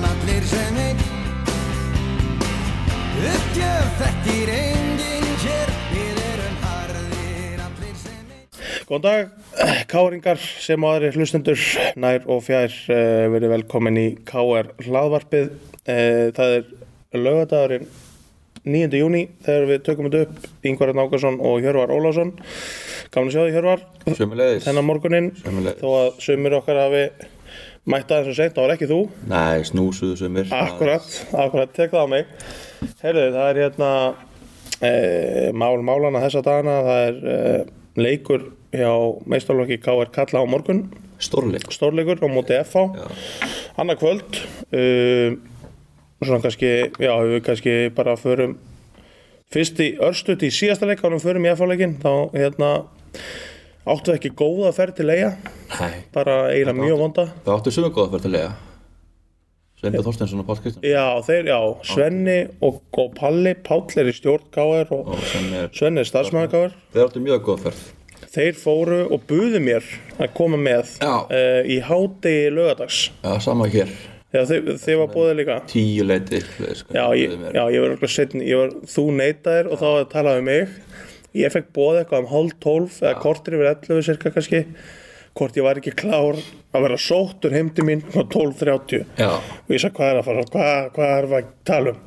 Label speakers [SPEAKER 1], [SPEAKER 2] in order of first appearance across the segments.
[SPEAKER 1] sem einn Uppgjöf þekkir enginn hér Við erum harðir allir sem einn
[SPEAKER 2] Góðan dag, Káringar sem og aðri hlustendur, nær og fjær uh, verið velkomin í KR hlaðvarpið. Uh, það er lögadagurinn 9. júni þegar við tökum þetta upp Yngvar Nákarsson og Hjörvar Ólásson. Gaman að sjá þig Hjörvar
[SPEAKER 3] Sjömmulegis
[SPEAKER 2] þennan morguninn
[SPEAKER 3] Sömuleiðis.
[SPEAKER 2] þó að sömur okkar hafi mætt aðeins og seint, það var ekki þú.
[SPEAKER 3] Nei, snúsuðu sömur
[SPEAKER 2] Akkurat, akkurat, tek það á mig. Heyrðu, það er hérna e, mál málana þessa dagana, það er e, leikur hjá meistarlokki KR Kalla á morgun,
[SPEAKER 3] Stórleik
[SPEAKER 2] stórleikur á móti FH, annað kvöld, e, svona kannski, já, við kannski bara förum fyrst í örstut í síðasta leik, ánum förum í FH-leikin, þá hérna áttu ekki góða ferð til leiða,
[SPEAKER 3] Nei,
[SPEAKER 2] bara eiginlega mjög vonda.
[SPEAKER 3] það áttu sömur góða fyrir til lega Sveinbjörn Þorstensson og Páll Kristján
[SPEAKER 2] Já, þeir, já, Svenni og, og Palli, Páll er í stjórn KR og
[SPEAKER 3] Og sem er
[SPEAKER 2] Svenni er starfsmaður KR.
[SPEAKER 3] Þeir áttu mjög góða ferð
[SPEAKER 2] Þeir fóru og buðu mér að koma með
[SPEAKER 3] Já.
[SPEAKER 2] eh, í hádegi lögadags.
[SPEAKER 3] Já, sama hér
[SPEAKER 2] Þegar þið, þið var búið líka.
[SPEAKER 3] Tíu leiti eitthvað, sko.
[SPEAKER 2] Já, ég,
[SPEAKER 3] Bauðu mér.
[SPEAKER 2] já, ég var okkur setn, ég var, þú neitaðir og þá var það talað um mig. Ég fekk bóð eitthvað um hálf tólf eða kortir yfir 11 cirka kannski. Hvort ég var ekki klár að vera sóttur heimdi mín á 12.30.
[SPEAKER 3] já
[SPEAKER 2] og ég sagði hvað er að fara hvað, hvað er að tala um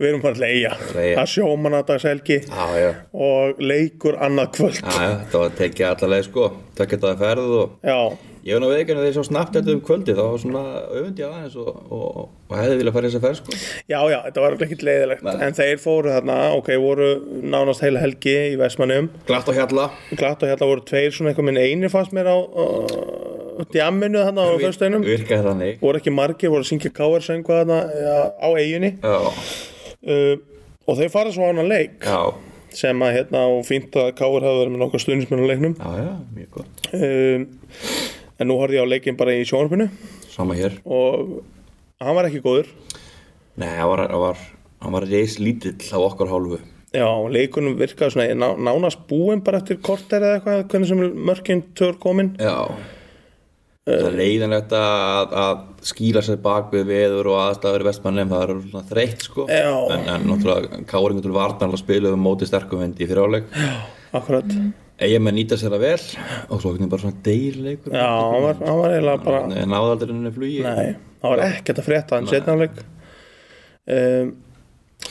[SPEAKER 2] við erum bara að leia
[SPEAKER 3] Leigja.
[SPEAKER 2] að sjómanadagshelgi
[SPEAKER 3] Já, já
[SPEAKER 2] og leikur annað kvöld
[SPEAKER 3] Já, já, þetta var að tekja allavega sko Takk þetta að ferð og
[SPEAKER 2] já,
[SPEAKER 3] Ég var nú veikinu þegar ég svo snabbt þetta um kvöldi þá var svona öfundi aðeins og, og, og hefði viljað fara í þessa ferð sko
[SPEAKER 2] já, já, þetta var ekkert leiðilegt
[SPEAKER 3] Nei.
[SPEAKER 2] en þeir fóru þarna, ok, voru nánast heila helgi í Vestmannum
[SPEAKER 3] Glatt á hjalla
[SPEAKER 2] glatt og hérna voru tveir svona eitthvað minn einir fannst mér á uh, djamminu þarna á föstudinum
[SPEAKER 3] Virkaði þannig
[SPEAKER 2] voru ekki margir, voru að syngja káar söngu þarna ja, á eiginni
[SPEAKER 3] Já,
[SPEAKER 2] uh, og þeir fara svo á hana leik
[SPEAKER 3] já,
[SPEAKER 2] sem að hérna og fínt að káar hafa verið með nokkuð stundismenn á leiknum
[SPEAKER 3] já, já, mjög gott
[SPEAKER 2] um, en nú horfði ég á leikinn bara í sjónarpinu
[SPEAKER 3] Sama hér
[SPEAKER 2] og hann var ekki góður
[SPEAKER 3] Nei, hann var, hann var, hann var reis lítill á okkar hálfu.
[SPEAKER 2] já, leikunum virkaði svona ná, nánast búinn bara eftir korter eða eitthvað hvernig sem mörkinn tör komin
[SPEAKER 3] Já. Það er leiðanlegt að, að skýla sér bak við veður og aðstæður í vestmannum, það er svona þreytt sko.
[SPEAKER 2] Já.
[SPEAKER 3] En, en náttúrulega Káringur til varnar að spila um móti sterkum vendi í fyriráleik.
[SPEAKER 2] akkurat,
[SPEAKER 3] Egin menn nýta sér það vel og svo hvernig bara svona deyrleikur.
[SPEAKER 2] já, hann var, hann var eiginlega bara,
[SPEAKER 3] Nei, náði aldrei henni flugi.
[SPEAKER 2] nei, hann var ekkert að frétta hann setjanleik um,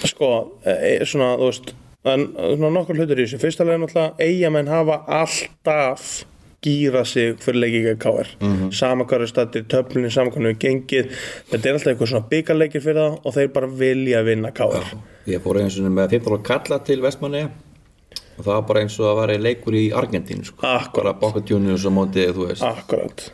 [SPEAKER 2] sko e, svona, þú veist en, svona nokkur hlutur í þessu, fyrsta leginn alltaf eigamenn hafa alltaf gýra sig fyrir leikið KR mm
[SPEAKER 3] Mhm.
[SPEAKER 2] -hmm. sama hverju stættir töflunni, sama hvernig við gengið þetta er alltaf eitthvað svona byggarleikir fyrir það og þeir bara vilja vinna KR
[SPEAKER 3] Ég fór eins og með 15 ára kalla til vestmanni og það var bara eins og að vera í leikur í Argentínu sko.
[SPEAKER 2] Akkúrat.
[SPEAKER 3] Bara bokkatjónu og svo mótið, þú veist.
[SPEAKER 2] akkurat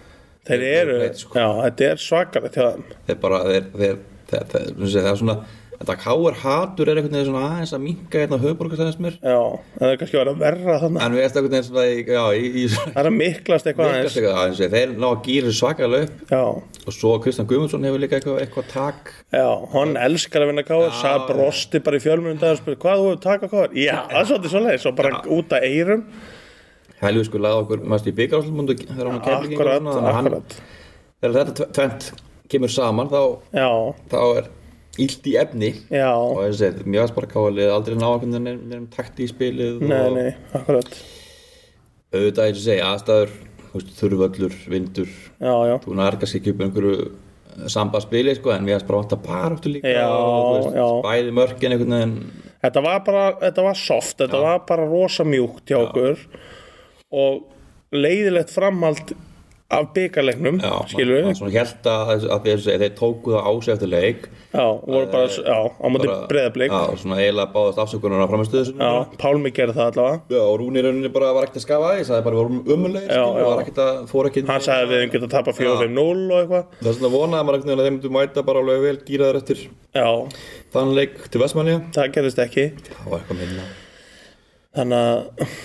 [SPEAKER 2] þeir eru,
[SPEAKER 3] veit, sko.
[SPEAKER 2] já, þetta er svakalegt hjá þeim
[SPEAKER 3] þeir bara þeir, þeir, þeir, þeir, þeir, það er svona þetta káir hatur er einhvern veginn svona aðeins að minka hérna höfuborgarsæðins mér
[SPEAKER 2] já, en það er kannski að vera verra þannig
[SPEAKER 3] en við erum einhvern veginn svona í, já, í, í svona
[SPEAKER 2] það er að miklast eitthvað aðeins
[SPEAKER 3] eitthvað aðeins þeir ná að gýra þessu svakalega upp
[SPEAKER 2] já,
[SPEAKER 3] og svo Kristján Guðmundsson hefur líka eitthvað, eitthvað tak
[SPEAKER 2] já, hann elskar að vinna KR sað brosti bara í fjölmunum dag og spyrir hvað þú hefur taka KR, já, það er svolítið svolítið svo bara út að eyrum
[SPEAKER 3] helvið sko laði okkur mest í byggaráslumundu þegar hann kemur
[SPEAKER 2] Akkurat, akkurat
[SPEAKER 3] þegar þetta tve- tvennt kemur saman þá,
[SPEAKER 2] Já,
[SPEAKER 3] þá er illt í efni
[SPEAKER 2] já,
[SPEAKER 3] og þess að mjög aðeins bara káalið aldrei ná okkur nefnum takti í spilið
[SPEAKER 2] nei,
[SPEAKER 3] og-
[SPEAKER 2] nei, akkurat
[SPEAKER 3] auðvitað eins og segja aðstæður þú veist, þurrvöllur, vindur
[SPEAKER 2] Já, já,
[SPEAKER 3] þú nær kannski ekki upp einhverju sambaspili sko, en við erum bara vant að para áttu líka
[SPEAKER 2] Já,
[SPEAKER 3] og, þú veist,
[SPEAKER 2] já.
[SPEAKER 3] bæði mörkin einhvern veginn
[SPEAKER 2] þetta var bara, þetta var soft þetta var bara rosa mjúkt hjá okkur og leiðilegt framhald af byggarleiknum,
[SPEAKER 3] já,
[SPEAKER 2] skilur
[SPEAKER 3] maður-
[SPEAKER 2] við
[SPEAKER 3] maður svona held að, að þeir, segja, þeir tóku það á sig eftir leik
[SPEAKER 2] Já, voru bara, já, á móti breyðablík
[SPEAKER 3] já, svona eiginlega báðast afsökunar á framistuðu sinni
[SPEAKER 2] Já, Pálmi gerði það allavega
[SPEAKER 3] Já, og Rúni rauninni bara var ekkert að skafa aðeins það er bara vorum umulegir
[SPEAKER 2] Já,
[SPEAKER 3] og
[SPEAKER 2] já.
[SPEAKER 3] var ekkert að fór ekki
[SPEAKER 2] Hann sagði að við hefum getað tapað 4-5-0 og eitthvað
[SPEAKER 3] það er svona vonaði maður einhvern veginn að þeim myndu mæta bara alveg vel gýraður eftir
[SPEAKER 2] Já,
[SPEAKER 3] þann leik til Vestmannia
[SPEAKER 2] það gerðist ekki
[SPEAKER 3] það var eitthvað minna
[SPEAKER 2] Þannig að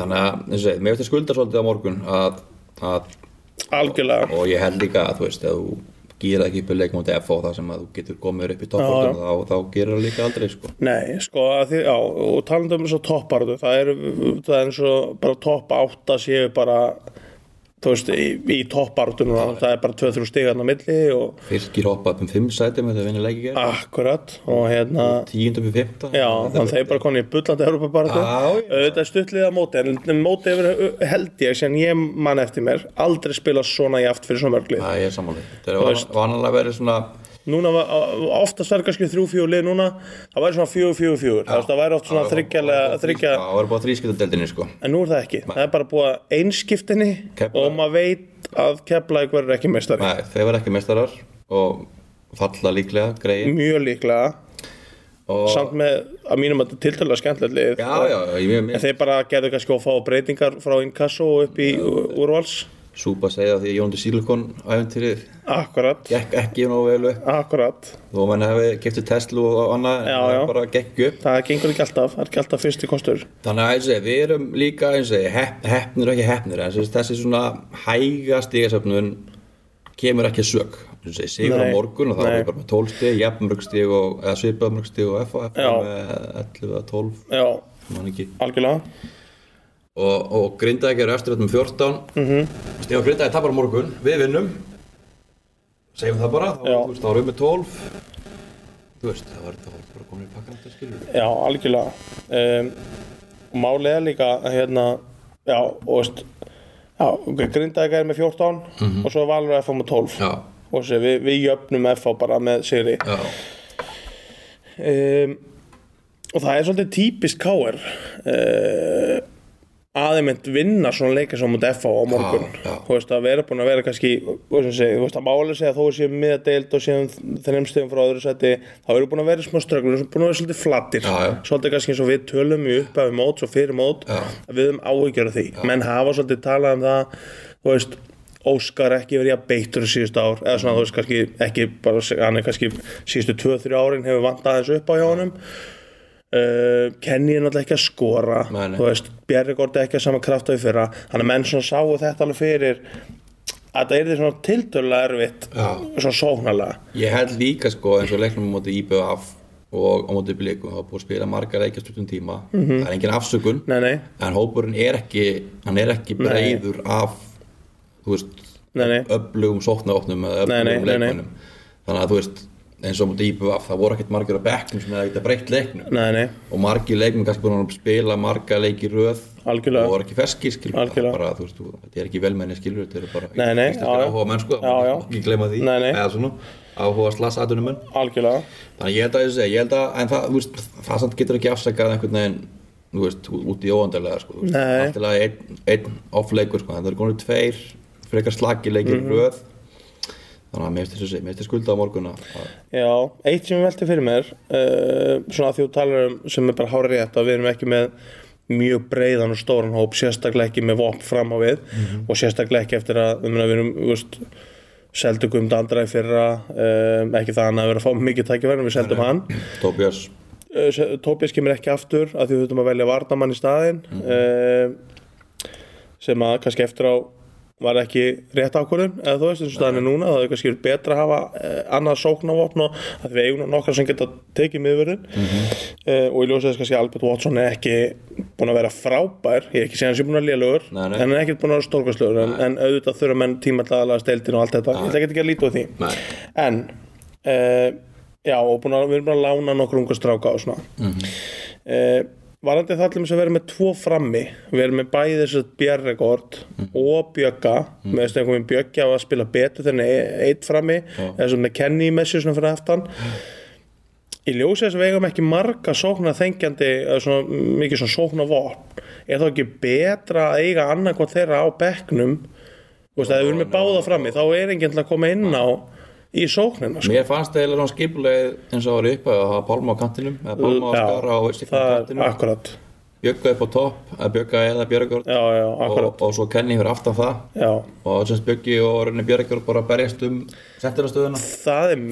[SPEAKER 3] Þannig að, eins og segið, mér finnst það skulda svolítið á morgun að, að,
[SPEAKER 2] algjörlega
[SPEAKER 3] og ég held líka að, þú veist, ef þú gýrar ekki upp í leik móti FO þar sem að þú getur komið upp í toppvartuna, þá, þá gerir það líka aldrei, sko.
[SPEAKER 2] Nei, sko, að því, já, og talandi um eins og topparðu, það er, það er eins og bara topp átta séu bara þú veist, í, í toppartum það er bara 2-3 stigarn á milli og
[SPEAKER 3] Fylgir hoppa upp um 5 sætum þetta vinni leik í gerð
[SPEAKER 2] akkurat og hérna
[SPEAKER 3] 10 upp í 15
[SPEAKER 2] Ah. já, þannig að þeir bara konu í bullandi Europabaratu,
[SPEAKER 3] Já, já.
[SPEAKER 2] auðvitað stuttliða móti en móti hefur held ég sem ég man eftir mér, aldrei spila svona jaft fyrir svona mörgli
[SPEAKER 3] Það er sammáli Þetta
[SPEAKER 2] Þú
[SPEAKER 3] er
[SPEAKER 2] veist-
[SPEAKER 3] vanalega verið svona
[SPEAKER 2] núna var oftast verður kannski 3-4 lið núna, það væri svona 4-4-4 þú veist, það væri oft svona þryggjalega þryggja
[SPEAKER 3] Það var bara þrískiptadeldinni sko
[SPEAKER 2] En nú er það ekki, það er bara búið að einskiptinni
[SPEAKER 3] Keflavík.
[SPEAKER 2] og maður veit að Keflavík verður ekki meistari
[SPEAKER 3] Nei, þeir verða ekki mestarar og falla líklega, greiði
[SPEAKER 2] Mjög líklega,
[SPEAKER 3] og
[SPEAKER 2] Mm, samt með að mínum að þetta er tiltölulega skemmtilegt lið
[SPEAKER 3] Já, já, já, ég
[SPEAKER 2] En
[SPEAKER 3] með
[SPEAKER 2] þeir bara gerðu kannski að fá breytingar frá Inkasso og upp í úrvals
[SPEAKER 3] Súpa segja því að Jóndi Sílikon æfintýrið
[SPEAKER 2] Akkurat,
[SPEAKER 3] gekk ekki nógu vel upp
[SPEAKER 2] akkurat
[SPEAKER 3] þó menn hefði kiptið Tesla og annað en
[SPEAKER 2] Já,
[SPEAKER 3] það
[SPEAKER 2] já.
[SPEAKER 3] bara gekk upp
[SPEAKER 2] Það gengur ekki alltaf, það er ekki alltaf fyrsti kostur
[SPEAKER 3] Þannig að eins og ég segi, við erum líka eins og ég, hepp, heppnir og ekki heppnir en sem sagt, þessi svona hæga stígasöfnun kemur ekki að sög eins og ég sigur á
[SPEAKER 2] Nei.
[SPEAKER 3] morgun og þá
[SPEAKER 2] Nei.
[SPEAKER 3] erum við bara með 12 stíg, jafnmörg stíg og eða svipaðmörg stíg og F og F
[SPEAKER 2] Já.
[SPEAKER 3] með 11 eða 12
[SPEAKER 2] Já,
[SPEAKER 3] man ekki
[SPEAKER 2] algjörlega
[SPEAKER 3] og, og Grindavík eru eftir þetta með 14 mm
[SPEAKER 2] Mhm.
[SPEAKER 3] -hmm. og Grindavík tapar á morgun við vinnum segjum það bara, þá,
[SPEAKER 2] Já.
[SPEAKER 3] þú veist, þá erum við með 12 þú veist, það var, það var bara komin í pakkan þetta skilur
[SPEAKER 2] Já, algjörlega um, Málið er líka að, hérna, já, og veist Já, Grindavík er með 14 og svo er Valur og FH með 12
[SPEAKER 3] Mhm. já,
[SPEAKER 2] og sér, við, við jöfnum FH bara með sigri
[SPEAKER 3] já,
[SPEAKER 2] um, og það er svolítið típist KR uh, aðeimend vinna svona leika svo mútið FH á morgun
[SPEAKER 3] Já, já.
[SPEAKER 2] þú veist að vera búin að vera kannski þú veist að, að máli segja að þó séum miðadeild og séum þennum stegum frá öðru seti þá eru búin að vera í smá strögglu og búin að vera svolítið flattir
[SPEAKER 3] Já, já.
[SPEAKER 2] svolítið kannski eins og við tölum í upphafi mót og fyrir mót
[SPEAKER 3] Já.
[SPEAKER 2] að við höfum áhyggjur af því menn hafa svolítið talað um það þú veist Óskar ekki verið að beittur síðust ár eða svona þú veist kannski ekki bara hann er kannski síðustu 2-3 árin hefur vantað þessu upp á hjá honum uh, Kenny er náttúrulega ekki að skora
[SPEAKER 3] Nei, nei.
[SPEAKER 2] þú veist Bjarri Gordi ekki að sama krafta í fyrra hann er menn svona sáu þetta alveg fyrir að það er því svona tildurlega erfitt
[SPEAKER 3] já.
[SPEAKER 2] svona sóknarlega
[SPEAKER 3] ég held líka sko eins og leiknum á móti IBF og á móti Blikum, það er búið að spila margar leikja stundum tíma, það er engin afsökun
[SPEAKER 2] Mhm. nei nei,
[SPEAKER 3] en hópurinn er ekki hann er ekki breiður af þú veist,
[SPEAKER 2] nei, nei.
[SPEAKER 3] öflugum sóknaróknum eða
[SPEAKER 2] Nei, nei,
[SPEAKER 3] öflugum
[SPEAKER 2] nei, nei.
[SPEAKER 3] leikmönnum þannig að þú veist eins og mútið íbjöf það voru ekkert margir á bekknum sem hefði ekkert breytt leiknum
[SPEAKER 2] nei, nei.
[SPEAKER 3] og margir leikmenn kannski búin að spila marga leiki röð
[SPEAKER 2] Algjörlega.
[SPEAKER 3] og voru ekki ferski skilur
[SPEAKER 2] Algjörlega.
[SPEAKER 3] bara, þú veist, þú- þetta er ekki velmenni skilur þetta eru bara
[SPEAKER 2] Nei, nei,
[SPEAKER 3] íslenskir
[SPEAKER 2] já, já.
[SPEAKER 3] áhuga menn sko það
[SPEAKER 2] Já,
[SPEAKER 3] má
[SPEAKER 2] já.
[SPEAKER 3] ekki gleyma því
[SPEAKER 2] Nei, nei.
[SPEAKER 3] eða svona áhuga slasatunum menn
[SPEAKER 2] algjörlega
[SPEAKER 3] þannig að ég held að, þessi, ég held að en það, þú veist, það samt getur ekki afsakað einhvern veginn þú veist, ú- út í óandalega sko, þú veist.
[SPEAKER 2] Nei.
[SPEAKER 3] allt í lagi einn ein off-leikur sko, en það eru konur tveir frekar slagi leikir
[SPEAKER 2] Mhm.
[SPEAKER 3] mm röð þannig að mér finnst þessi- mér finnst þessi skulda á morgun að að-
[SPEAKER 2] Já, eitt sem ég velti fyrir mér uh, svona að því þú talar um sem er bara hárið rétt að við erum ekki með mjög breiðan og stóran hóp sérstaklega ekki með vopn fram á við og sérstaklega ekki eftir að um, við erum þú veist, seldum um dandra í fyrra um, ekki það hann að vera að fá mikið tækifæri en við seldum hann
[SPEAKER 3] Tobias
[SPEAKER 2] uh, Tobias kemur ekki aftur af því við þurfum að velja varnamann í staðinn
[SPEAKER 3] Mhm.
[SPEAKER 2] mm sem að kannski eftir á var ekki rétt ákvörðun eða þú veist eins og staðan er núna það er kannski betra að hafa uh, annað sóknarvopn og að við eigum nú nokkra sem geta tekið miðvörðin
[SPEAKER 3] Mhm.
[SPEAKER 2] uh, og ég ljósi þess kannski að Albert Watson er ekki búin að vera frábær ég er ekki segja hans ég búin að lélugur
[SPEAKER 3] Nei, nei.
[SPEAKER 2] en hann er ekkert búin að vera stórkvæslugur en, en auðvitað þurfa menn tíma til aðalega steildin og allt þetta ég ætla ekki að líta á því
[SPEAKER 3] Nei.
[SPEAKER 2] en uh, já og búin að, við erum búin að lána nokkur ungu stráka og svona mm varandi það til þess að vera með tvo frammi við erum með bæði þess að bjarregord og bjögga mm. með þess að komið bjöggja á að spila betur þannig e- einn frammi eða sem með Kenny í messu svona fyrir aftan í ljósi þess að við eigum ekki marga sókna þengjandi eða svona mikið svona sókna vopn er þá ekki betra að eiga annarkvæmt þeirra á bekknum Þú veist, að ef við erum með báða frammi þá er enginn til að koma inn á í sóknina sko.
[SPEAKER 3] mér fannst það eiginlega svona skipulegið eins og var upp að hafa Pálma á kantinum eða Pálma og
[SPEAKER 2] Já,
[SPEAKER 3] Skara á sikkum
[SPEAKER 2] það er
[SPEAKER 3] kantinum
[SPEAKER 2] akkurat
[SPEAKER 3] Björga upp á topp að Björga eða Björgjörn
[SPEAKER 2] já, já, akkurat
[SPEAKER 3] og, og svo Kenny fyrir aftan það
[SPEAKER 2] já.
[SPEAKER 3] og semst Björgi og Rönni Björgjörn bara berjast um sentirastöðuna
[SPEAKER 2] það er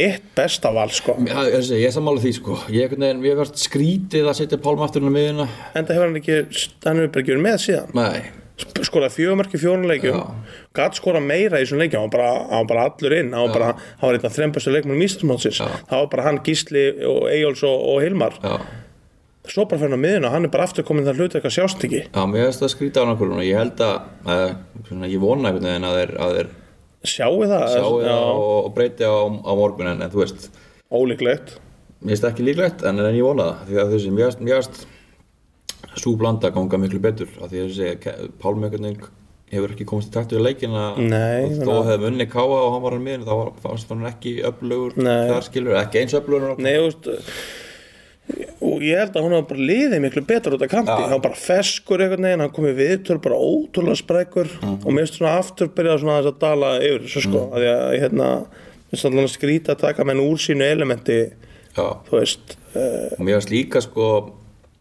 [SPEAKER 2] mitt besta val sko.
[SPEAKER 3] Já, þessi, ég er sammála því sko Ég einhvern veginn, við verðum skrítið að setja Pálma aftur inn á miðuna
[SPEAKER 2] enda hefur hann ekki hann hefur bara ekki verið með síðan
[SPEAKER 3] Nei,
[SPEAKER 2] Sp- skorað fjögumarki fjónuleikjum gatt skorað meira í þessum leikjum hann var bara, hann var bara allur inn hann var bara, hann var eitthvað þrembastu leikmannum íslensmálsins
[SPEAKER 3] Já.
[SPEAKER 2] það var bara hann Gísli og Eyjóls og, og Hilmar
[SPEAKER 3] já,
[SPEAKER 2] svo bara fyrir hann á miðuna, hann er bara aftur komin það hlutu eitthvað sjást ekki
[SPEAKER 3] Já, mér finnst það skrýta á nákvæmlega Ég held að, að svona, ég vona einhvern veginn að þeir, að þeir
[SPEAKER 2] sjáu það,
[SPEAKER 3] sjáu
[SPEAKER 2] já,
[SPEAKER 3] það og, og breyti á, á morgun en, en þú veist,
[SPEAKER 2] ólíklegt
[SPEAKER 3] mér finnst ekki líklegt en, en ég vona það, því að þessi mér finnst- mér finnst svo blanda ganga miklu betur af því að þessi Pálmi einhvern veginn hefur ekki komist í takt við leikina
[SPEAKER 2] Nei,
[SPEAKER 3] og þó
[SPEAKER 2] þannig að-
[SPEAKER 3] hefði unni káa og hann var hann miðin þá var- fannst hann ekki öflugur
[SPEAKER 2] Nei.
[SPEAKER 3] þar skilur, ekki eins öflugur en-
[SPEAKER 2] Nei, þú veist og ég held að hún hafa bara liðið miklu betur út af kanti,
[SPEAKER 3] Já.
[SPEAKER 2] hann var bara feskur einhvern veginn, hann komið viðtöl bara ótrúlega sprækur
[SPEAKER 3] Mhm.
[SPEAKER 2] og mér finnst svona aftur byrjað svona aðeins að dala yfir þessu sko, af því að hérna, mér finnst allan að skrýta að taka menn úr sínu elementi,
[SPEAKER 3] Já.
[SPEAKER 2] þú veist uh,
[SPEAKER 3] og mér finnst líka sko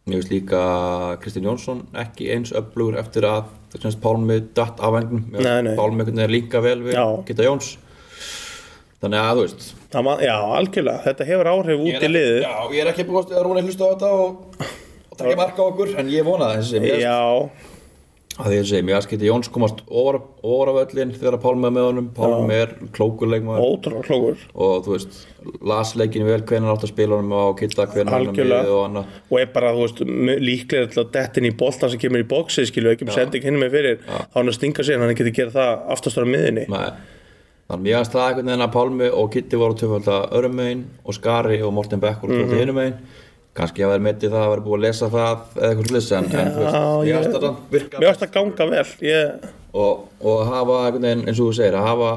[SPEAKER 3] mér finnst líka Kristján Jónsson ekki eins öflugur eftir að það semst Pálmi datt af engnum
[SPEAKER 2] Nei,
[SPEAKER 3] Mér fannst
[SPEAKER 2] nei.
[SPEAKER 3] Pálmi einhvern veginn er líka vel við
[SPEAKER 2] Já.
[SPEAKER 3] Geta Jóns þannig að þú veist
[SPEAKER 2] það var, já, algjörlega, þetta hefur áhrif
[SPEAKER 3] ég
[SPEAKER 2] út í
[SPEAKER 3] er ekki-
[SPEAKER 2] liðið
[SPEAKER 3] já, ég er ekki búið að Rúni hlusta á þetta og, og taka marka á okkur en ég vona það þessi, mér,
[SPEAKER 2] Já,
[SPEAKER 3] að því að segja, mér finnst Geta Jóns komast ofar ofar af öllin þegar Pálmi er með honum Pálmi er klókur leikmaður
[SPEAKER 2] ótrúlega klókur
[SPEAKER 3] og þú veist, las leikinu vel hvernig átt að spila honum og Geta hvernig hann er
[SPEAKER 2] Algjörlega.
[SPEAKER 3] með og annað
[SPEAKER 2] og er bara, þú veist, líklega til að dettin í boltan sem kemur í bóksi, skilju, ekki með sending hinn með fyrir, þá hann að stinga sig en hann getur gera það aftast á miðinni
[SPEAKER 3] Nei. Þannig mér að staða einhvern veginn að Pálmi og Kitty voru töfald að örum megin og Skari og Morten Beck voru
[SPEAKER 2] Mhm.
[SPEAKER 3] töfald að hinum megin kannski að vera metið það að vera búið að lesa það eða eitthvað slis en, en þú veist,
[SPEAKER 2] Já,
[SPEAKER 3] mér
[SPEAKER 2] ég-
[SPEAKER 3] að staða virka
[SPEAKER 2] Mér varst að ganga vel ég,
[SPEAKER 3] og, og að hafa einhvern veginn eins og þú segir að hafa,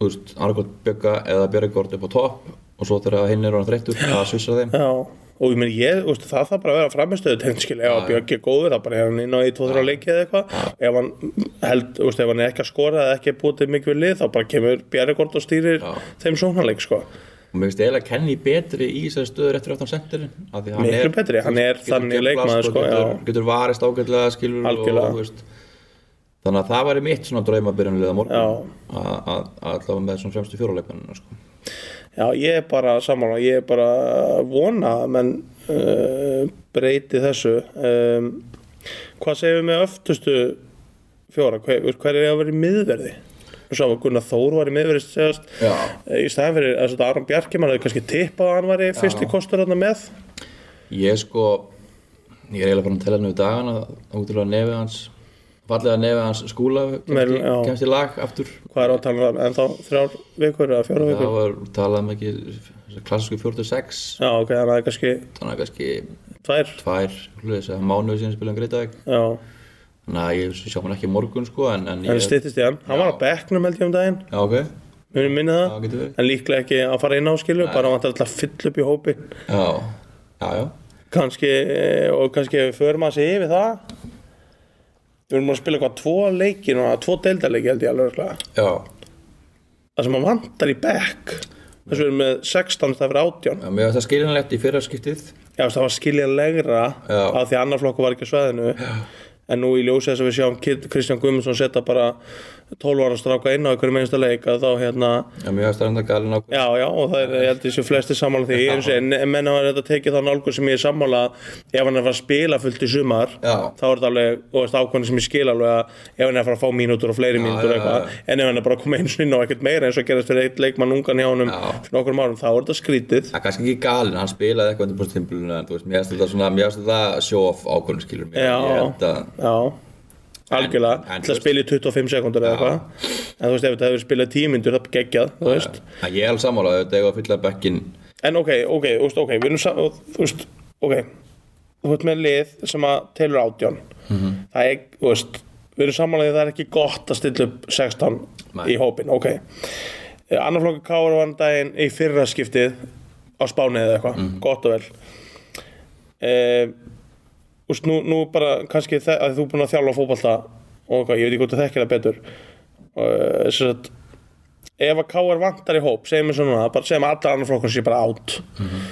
[SPEAKER 3] þú veist, Argótt Bjögga eða Björgórt upp á topp og svo þegar hinn er hann þreyttur að svissa þeim
[SPEAKER 2] já, og ég meni ég, þú veist, það þarf bara að vera framistöðu tegn skil, ef að Björk er góður, þá bara er hann inn á í 2-3 leiki eða eitthvað ef hann held, þú veist, ef hann er ekki að skora eða ekki búið til mikið við lið, þá bara kemur Bjarregord og stýrir
[SPEAKER 3] Já.
[SPEAKER 2] þeim sóknarleik sko.
[SPEAKER 3] og mér finnst eiginlega Kenny betri í þessari stöður eftir aftan sendirinn af því hann
[SPEAKER 2] Miklu
[SPEAKER 3] er-
[SPEAKER 2] betri, hann er
[SPEAKER 3] getur
[SPEAKER 2] þannig
[SPEAKER 3] djöflast
[SPEAKER 2] leikmaður,
[SPEAKER 3] og
[SPEAKER 2] sko,
[SPEAKER 3] getur,
[SPEAKER 2] já.
[SPEAKER 3] getur varist ágætlega skilur
[SPEAKER 2] Algjörlega.
[SPEAKER 3] og, þú veist, þannig að það væri mitt svona draumabyrjunlega morgun
[SPEAKER 2] Já.
[SPEAKER 3] að að- að allavega með svona fremstu fjóruleikmann sko.
[SPEAKER 2] já, ég er bara samanlega, ég er bara að vona að menn uh, breyti þessu um, hvað segjum við með öftustu fjóra, hver, þú veist, hver er að vera í miðverði og svo að Gunnar Þór var í miðverði segjast,
[SPEAKER 3] Já.
[SPEAKER 2] í staðan fyrir að svona Aron Bjarki mann hefði kannski tippað að hann var í fyrsti kostur hann með
[SPEAKER 3] ég sko ég er eiginlega bara að tella nú í dagana útilega nefið hans fallega nefið hans skúla
[SPEAKER 2] Meir-
[SPEAKER 3] kemst, í-
[SPEAKER 2] já.
[SPEAKER 3] kemst í lag aftur
[SPEAKER 2] hvað er átalað um, en þá þrjár vikur eða fjóra
[SPEAKER 3] það
[SPEAKER 2] vikur
[SPEAKER 3] var talað um ekki þessa klassísku 46
[SPEAKER 2] já ok, þannig að það er kannski
[SPEAKER 3] þannig að kannski
[SPEAKER 2] tvær
[SPEAKER 3] tvær hlutis að mánuði síðan spila um greitaðeg
[SPEAKER 2] já,
[SPEAKER 3] Þannig að ég sjá hann ekki í morgun sko en, en
[SPEAKER 2] en
[SPEAKER 3] ég...
[SPEAKER 2] það styttist í hann hann var á bekknum held ég um daginn,
[SPEAKER 3] Já, ok.
[SPEAKER 2] munum minna
[SPEAKER 3] Já,
[SPEAKER 2] það
[SPEAKER 3] getur verið.
[SPEAKER 2] en líklega ekki að fara inn á skilu bara vantar alltaf að fylla upp í hópi
[SPEAKER 3] Já, já, já.
[SPEAKER 2] kannski, eh, og kannski ef við förum að sig yfir það við erum að spila hvað tvo leiki núna, tvo deildaleiki held ég alveg örugglega.
[SPEAKER 3] Já,
[SPEAKER 2] það sem að vantar í bekk þess að við erum með 16 það fyrir 18
[SPEAKER 3] já mér finnst það skiljanlegt í fyrra skiptið.
[SPEAKER 2] Já, þú veist, það var skiljanlegra
[SPEAKER 3] Já.
[SPEAKER 2] af því að annar flokku var ekki á svæðinu en nú í ljósi þess að við sjáum Kid- Kristján Guðmundsson setja bara 12 ára stráka inn á einhverjum einsta leik að þá hérna,
[SPEAKER 3] Já, mér finnst það enda galin ákveð.
[SPEAKER 2] já, já, og það er, ég held þessi flesti sammála því, ég eins og en menna var þetta tekið þá nálgur sem ég er sammála að ef hann er að fara að spila fullt í sumar
[SPEAKER 3] Já.
[SPEAKER 2] þá er þetta alveg, og veist, ákvæðin sem ég skil alveg að ef hann er að fara að fá mínútur og fleiri mínútur
[SPEAKER 3] já,
[SPEAKER 2] og eitthvað, en ef hann er bara að koma eins og inn á ekkert meira eins og gerast fyrir eitt leikmann ungan hjá honum
[SPEAKER 3] Já.
[SPEAKER 2] fyrir nokkrum árum, þá er þetta skrítið
[SPEAKER 3] Það er kannski ekki galin, hann spilaði eitthvað undir búinst tímbilinu en þú veist, mér finnst þetta svona, mér finnst þetta show off ákveðin skilur mér.
[SPEAKER 2] Já.
[SPEAKER 3] Ég held að,
[SPEAKER 2] Já, algjörlega
[SPEAKER 3] en
[SPEAKER 2] til að
[SPEAKER 3] þú veist-
[SPEAKER 2] spila í 25 sekundur eða eitthvað en þú veist ef þetta hefur spilað 10 myndur það er geggjað, þú veist
[SPEAKER 3] að ég er alveg sammálaðið, þetta er að fylla bekkin.
[SPEAKER 2] en ok, ok, þú veist, ok, við erum sam- og þú veist, ok þú veist með lið sem að telur átján það er, þú veist við erum samanlega það er ekki gott að stilla upp 16
[SPEAKER 3] Nei.
[SPEAKER 2] í hópin, ok Eh, annar flokkur Káur var um daginn í fyrra skiptið á Spáni eða eitthvað, gott og vel eh, þú veist, nú, nú bara kannski þe- að þú er búin að þjálfa fótbolta og eitthvað, ég veit ekki hvort þú þekkir það betur Eh, og þess að ef að K.R. vantar í hóp segjum við svona, bara segjum að allar annar flokkar sé bara átt mm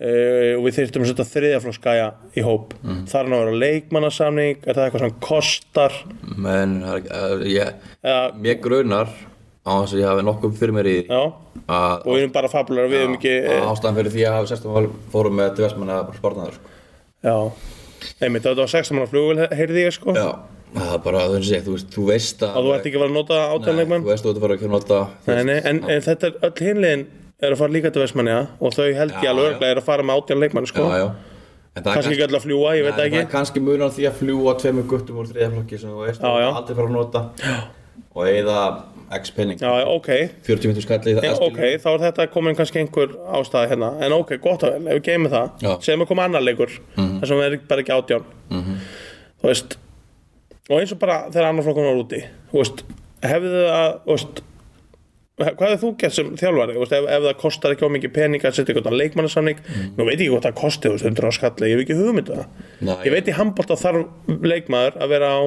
[SPEAKER 2] og við þyrftum að setja þriðaflokksgæja í hóp mm
[SPEAKER 3] Mhm.
[SPEAKER 2] -hmm. þar er nú að vera leikmannasamning er það eitthvað sem kostar
[SPEAKER 3] Men, það er ekki- að- ég,
[SPEAKER 2] eða,
[SPEAKER 3] mér grunar á þess að ég hafi nokkuð fyrir mér í því
[SPEAKER 2] já,
[SPEAKER 3] að
[SPEAKER 2] og við erum bara fabulega við erum ekki, eh,
[SPEAKER 3] að ástæðan fyrir því að hafa sextum val fórum með til vestmanna sparnaður sko.
[SPEAKER 2] já einmitt, þetta var 16 manna flugul, heyrði ég sko
[SPEAKER 3] Já, það er bara, þú veist, þú veist, þú veist að
[SPEAKER 2] að þú ert ekki að vera að nota
[SPEAKER 3] Nei,
[SPEAKER 2] átjánleikmann
[SPEAKER 3] Þú veist þú ert að fara að kemna alltaf
[SPEAKER 2] Nei, nei, en, en þetta er öll hinlegin er að fara líka til Vestmanniða og þau held ég
[SPEAKER 3] Já,
[SPEAKER 2] alveg
[SPEAKER 3] já.
[SPEAKER 2] örglega er að fara með átján leikmann sko.
[SPEAKER 3] Já, já En það er
[SPEAKER 2] kannski ekki öll að fljúa, ég veit
[SPEAKER 3] Nei,
[SPEAKER 2] það
[SPEAKER 3] það er
[SPEAKER 2] ekki
[SPEAKER 3] kannski munan því að fljúa tveimur guttum úr þriðja flokki sem þú veist
[SPEAKER 2] Já, já.
[SPEAKER 3] og aldrei fara að nota já. og eigða x penning
[SPEAKER 2] já, já, ok,
[SPEAKER 3] 40 minntur skalli í það
[SPEAKER 2] Já,
[SPEAKER 3] það
[SPEAKER 2] ok,
[SPEAKER 3] skilur.
[SPEAKER 2] þá er þetta komin kannski einhver ástæði hérna En ok, gott að vel, ef við geymum það
[SPEAKER 3] Já. Mhm.
[SPEAKER 2] Segðum við koma annar leikur mm -hmm. Þessum er bara ekki átján Þú veist Og eins og bara þegar annar flokkun var úti Þú veist, hefðu það þú veist, Hvað hefur þú gert sem þjálfari Þú veist, ef, ef það kostar ekki ómikið pening að setja eitthvað leikmannasamning
[SPEAKER 3] Mhm.
[SPEAKER 2] Nú veit ég ekki hvað það kosti þú veist, 100 skalli, ég hef ekki hugmynd um það
[SPEAKER 3] Nei.
[SPEAKER 2] Ég veit í handbólta þarf leikmaður að vera á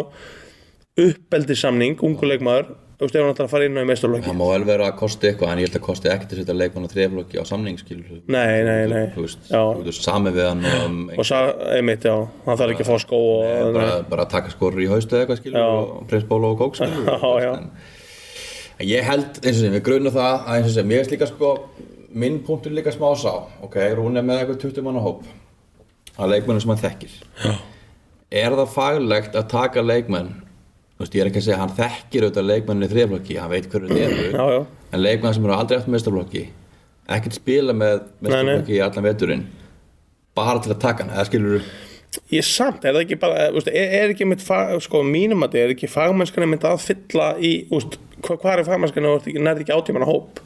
[SPEAKER 2] uppeldisamning, ungu leikmaður Þú veist, ef hann ætlar að fara inn á í meistarlokki
[SPEAKER 3] það má vel vera að kosti eitthvað en ég held að kosti ekkert að setja leikmann á þriðja flokki á samning skilur
[SPEAKER 2] Nei, nei, nei.
[SPEAKER 3] þú veist,
[SPEAKER 2] Já.
[SPEAKER 3] þú veist sami við hann um,
[SPEAKER 2] og sa, einmitt, já, hann þarf ekki að fá skó og,
[SPEAKER 3] bara, bara að taka skorur í haustu eða eitthvað skilur og pressbóla og kók skilur
[SPEAKER 2] Já, já.
[SPEAKER 3] En, en ég held eins og sem við grunum það að eins og sem ég er líka sko minn punktur líka smá sá ok, Rún er með eitthvað 20 manna hóp að leikmennu sem hann þekkir já. er það faglegt að taka leikmenn þú veist, ég er ekki að segja að hann þekkir auðvitað leikmennu í þriðaflokki, hann veit hverju þeir eru
[SPEAKER 2] Já, já.
[SPEAKER 3] en leikmenn sem eru aldrei eftir mestarflokki ekkert spila með mestarflokki í allan veturinn bara til að taka hann, eða skilur
[SPEAKER 2] ég samt, er það ekki bara úst, er, er ekki mitt, fag, sko, mínum að þið er ekki fagmennskan einmitt að fylla í úst, hva, hvað er fagmennskan ef þú ert ekki- nærð ekki átíman að hóp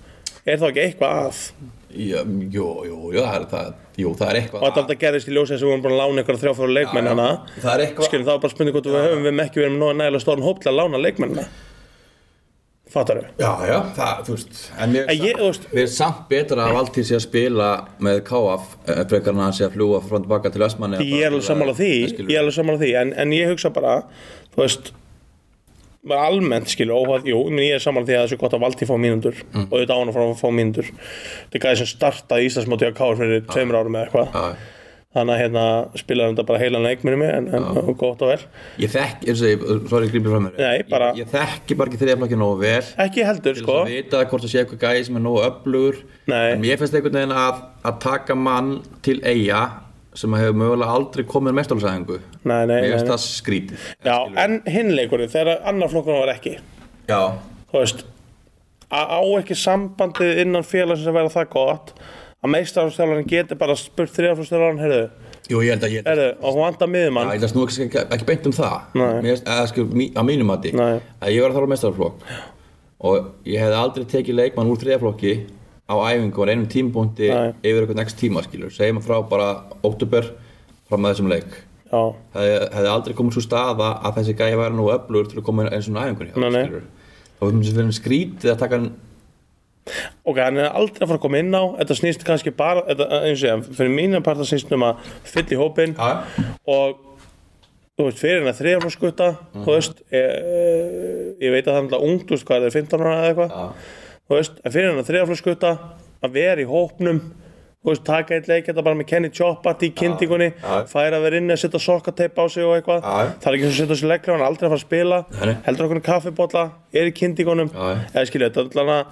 [SPEAKER 2] er þá ekki eitthvað að
[SPEAKER 3] Já, jú, jú, jú, það er, það, jú, það er eitthvað
[SPEAKER 2] og þetta alltaf gerist í ljósið sem við vorum búin að lána ykkur þrjáfóru leikmenn
[SPEAKER 3] Já, já.
[SPEAKER 2] hana
[SPEAKER 3] Það er eitthvað-
[SPEAKER 2] skilum þá er bara spurning hvort við höfum við höfum ekki verið með nógu nægilega stóran hóp til að lána leikmennina fattar þau?
[SPEAKER 3] Já, já, það, þú veist En
[SPEAKER 2] En
[SPEAKER 3] mér er,
[SPEAKER 2] ég,
[SPEAKER 3] samt,
[SPEAKER 2] þú veist-
[SPEAKER 3] mér er samt betra að Valtýr sé að spila með KF eh, frekar en að hann sé að fljúa frá og baka til Vestmanni
[SPEAKER 2] ég er alveg sammála því, ég er alveg sammála því en, en ég hugsa bara, þú veist bara almennt skilu, óháð, jú, ég meina, ég er sammála því að þessu gott að valdi fá mínundur
[SPEAKER 3] Mm.
[SPEAKER 2] og þetta á hann að fá, fá mínundur þetta er gæði sem startaði Íslandsmóti á Kár fyrir tveimur árum eða eitthvað
[SPEAKER 3] Já.
[SPEAKER 2] þannig að hérna spilaði hann þetta bara heilan leik minni mig en, en gott og vel
[SPEAKER 3] Ég þekk, eins og ég, sorry, ég grípið fram mér
[SPEAKER 2] Nei, bara-
[SPEAKER 3] Ég, ég þekki bara ekki þriðaflokki nógu vel Til
[SPEAKER 2] ekki heldur
[SPEAKER 3] þess
[SPEAKER 2] sko
[SPEAKER 3] að vita hvort það sé eitthvað gæði sem er nógu öflugur
[SPEAKER 2] Nei.
[SPEAKER 3] En mér finnst einhvern veginn að, að taka mann til eiga sem hefur mögulega aldrei komið mestalsæðingu
[SPEAKER 2] Nei, nei,
[SPEAKER 3] Mér
[SPEAKER 2] nei,
[SPEAKER 3] finnst
[SPEAKER 2] nei.
[SPEAKER 3] það skrítið
[SPEAKER 2] Já, en hinleikurinn, þegar annar flokkurinn var ekki
[SPEAKER 3] Já,
[SPEAKER 2] þú veist að á ekki sambandið innan félagsins að vera það gott að meistarflokksþjálfarinn geti bara spurt þrjárflokksþjálfarinn, heyrðu,
[SPEAKER 3] Jú, ég held að ég held að,
[SPEAKER 2] heyrðu, og hún vantar miðjumann
[SPEAKER 3] Já, ég held að snú ekki, ekki- ekki beint um það
[SPEAKER 2] Nei.
[SPEAKER 3] Mér, að, skur, mí, að mínum mati
[SPEAKER 2] Nei.
[SPEAKER 3] að ég var að þála mestarflokk og ég hefði aldrei tekið leikmann úr þriðaflokki á æfingu og einum tímpunkti
[SPEAKER 2] Nei.
[SPEAKER 3] yfir eitthvað next tíma skilur segjum að frá bara óttubur fram að þessum leik
[SPEAKER 2] Já,
[SPEAKER 3] hefði, hefði aldrei komið svo staða að þessi gæði væri nú öflugur til að koma eins og æfingunni
[SPEAKER 2] Nei, nei.
[SPEAKER 3] þá finnst við finnum skrítið að taka hann
[SPEAKER 2] ok, hann er aldrei að fara að koma inn á þetta snýst kannski bara, þetta, eins og ég fyrir mínu part það snýst um að fylla í hópinn og þú veist, fyrir henni að þriðar skutta
[SPEAKER 3] Mhm.
[SPEAKER 2] þú veist, ég, ég veit að það er náttúrulega ungt, þú veist, hvað er þeir 15 ára eða eitthvað þú veist, en fyrir henni að þriðar skutta að vera í hópnum þú veist, taka eitt leik, þetta bara með Kenny Choppat í kynntingunni,
[SPEAKER 3] Já.
[SPEAKER 2] færa að vera inni að setja sokkateip á sig og eitthvað
[SPEAKER 3] Já.
[SPEAKER 2] það er ekki svo að setja sig legglega, hann er aldrei að fara að spila
[SPEAKER 3] Nei.
[SPEAKER 2] heldur okkur um kaffibólla, er í kynntingunum
[SPEAKER 3] Já.
[SPEAKER 2] eða skilja, þetta er allan að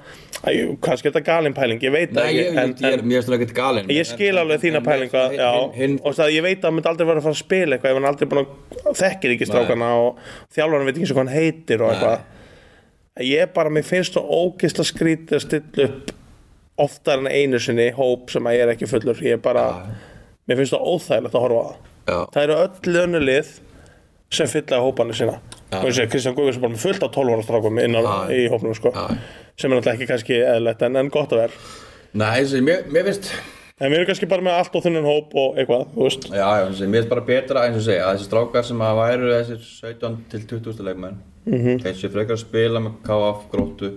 [SPEAKER 2] kannski er þetta galin pæling, ég veit
[SPEAKER 3] Nei,
[SPEAKER 2] það
[SPEAKER 3] ég, ég,
[SPEAKER 2] ekki, en-
[SPEAKER 3] ég, er-
[SPEAKER 2] en-
[SPEAKER 3] mér finnst það ekkert galinn
[SPEAKER 2] Ég skil alveg þína pælingu að- já,
[SPEAKER 3] hinn,
[SPEAKER 2] og það ég veit að hann myndi aldrei vera að fara að spila eitthvað ef hann aldrei búin að þekkir ekki strákana og þjálfarinn veit ekki eins og hvað hann heitir og eitthvað ég bara, mér finnst það ógisla skrítið að stilla upp oftar en einu sinni hóp sem að ég er ekki fullur ég bara, mér finnst það óþægilegt að horfa á það
[SPEAKER 3] Já.
[SPEAKER 2] það eru öll önnulið sem fylla hópanir sína og þessi Kristján Guðvíðs er bara með fullt af 12 ára strákum innan
[SPEAKER 3] Já.
[SPEAKER 2] í hópnum sko
[SPEAKER 3] Já.
[SPEAKER 2] sem er náttúrulega ekki kannski eðlætt en, en gott að vera
[SPEAKER 3] Nei, þessi, mér, mér finnst
[SPEAKER 2] en við erum kannski bara með allt og þunnin hóp og eitthvað, þú veist
[SPEAKER 3] Já, já, þessi, mér finnst bara betra eins og segja að þessi strákar sem að væru þessir 17 til 20 leikmenn mm -hmm. þessi frekar að spila með KF gróttu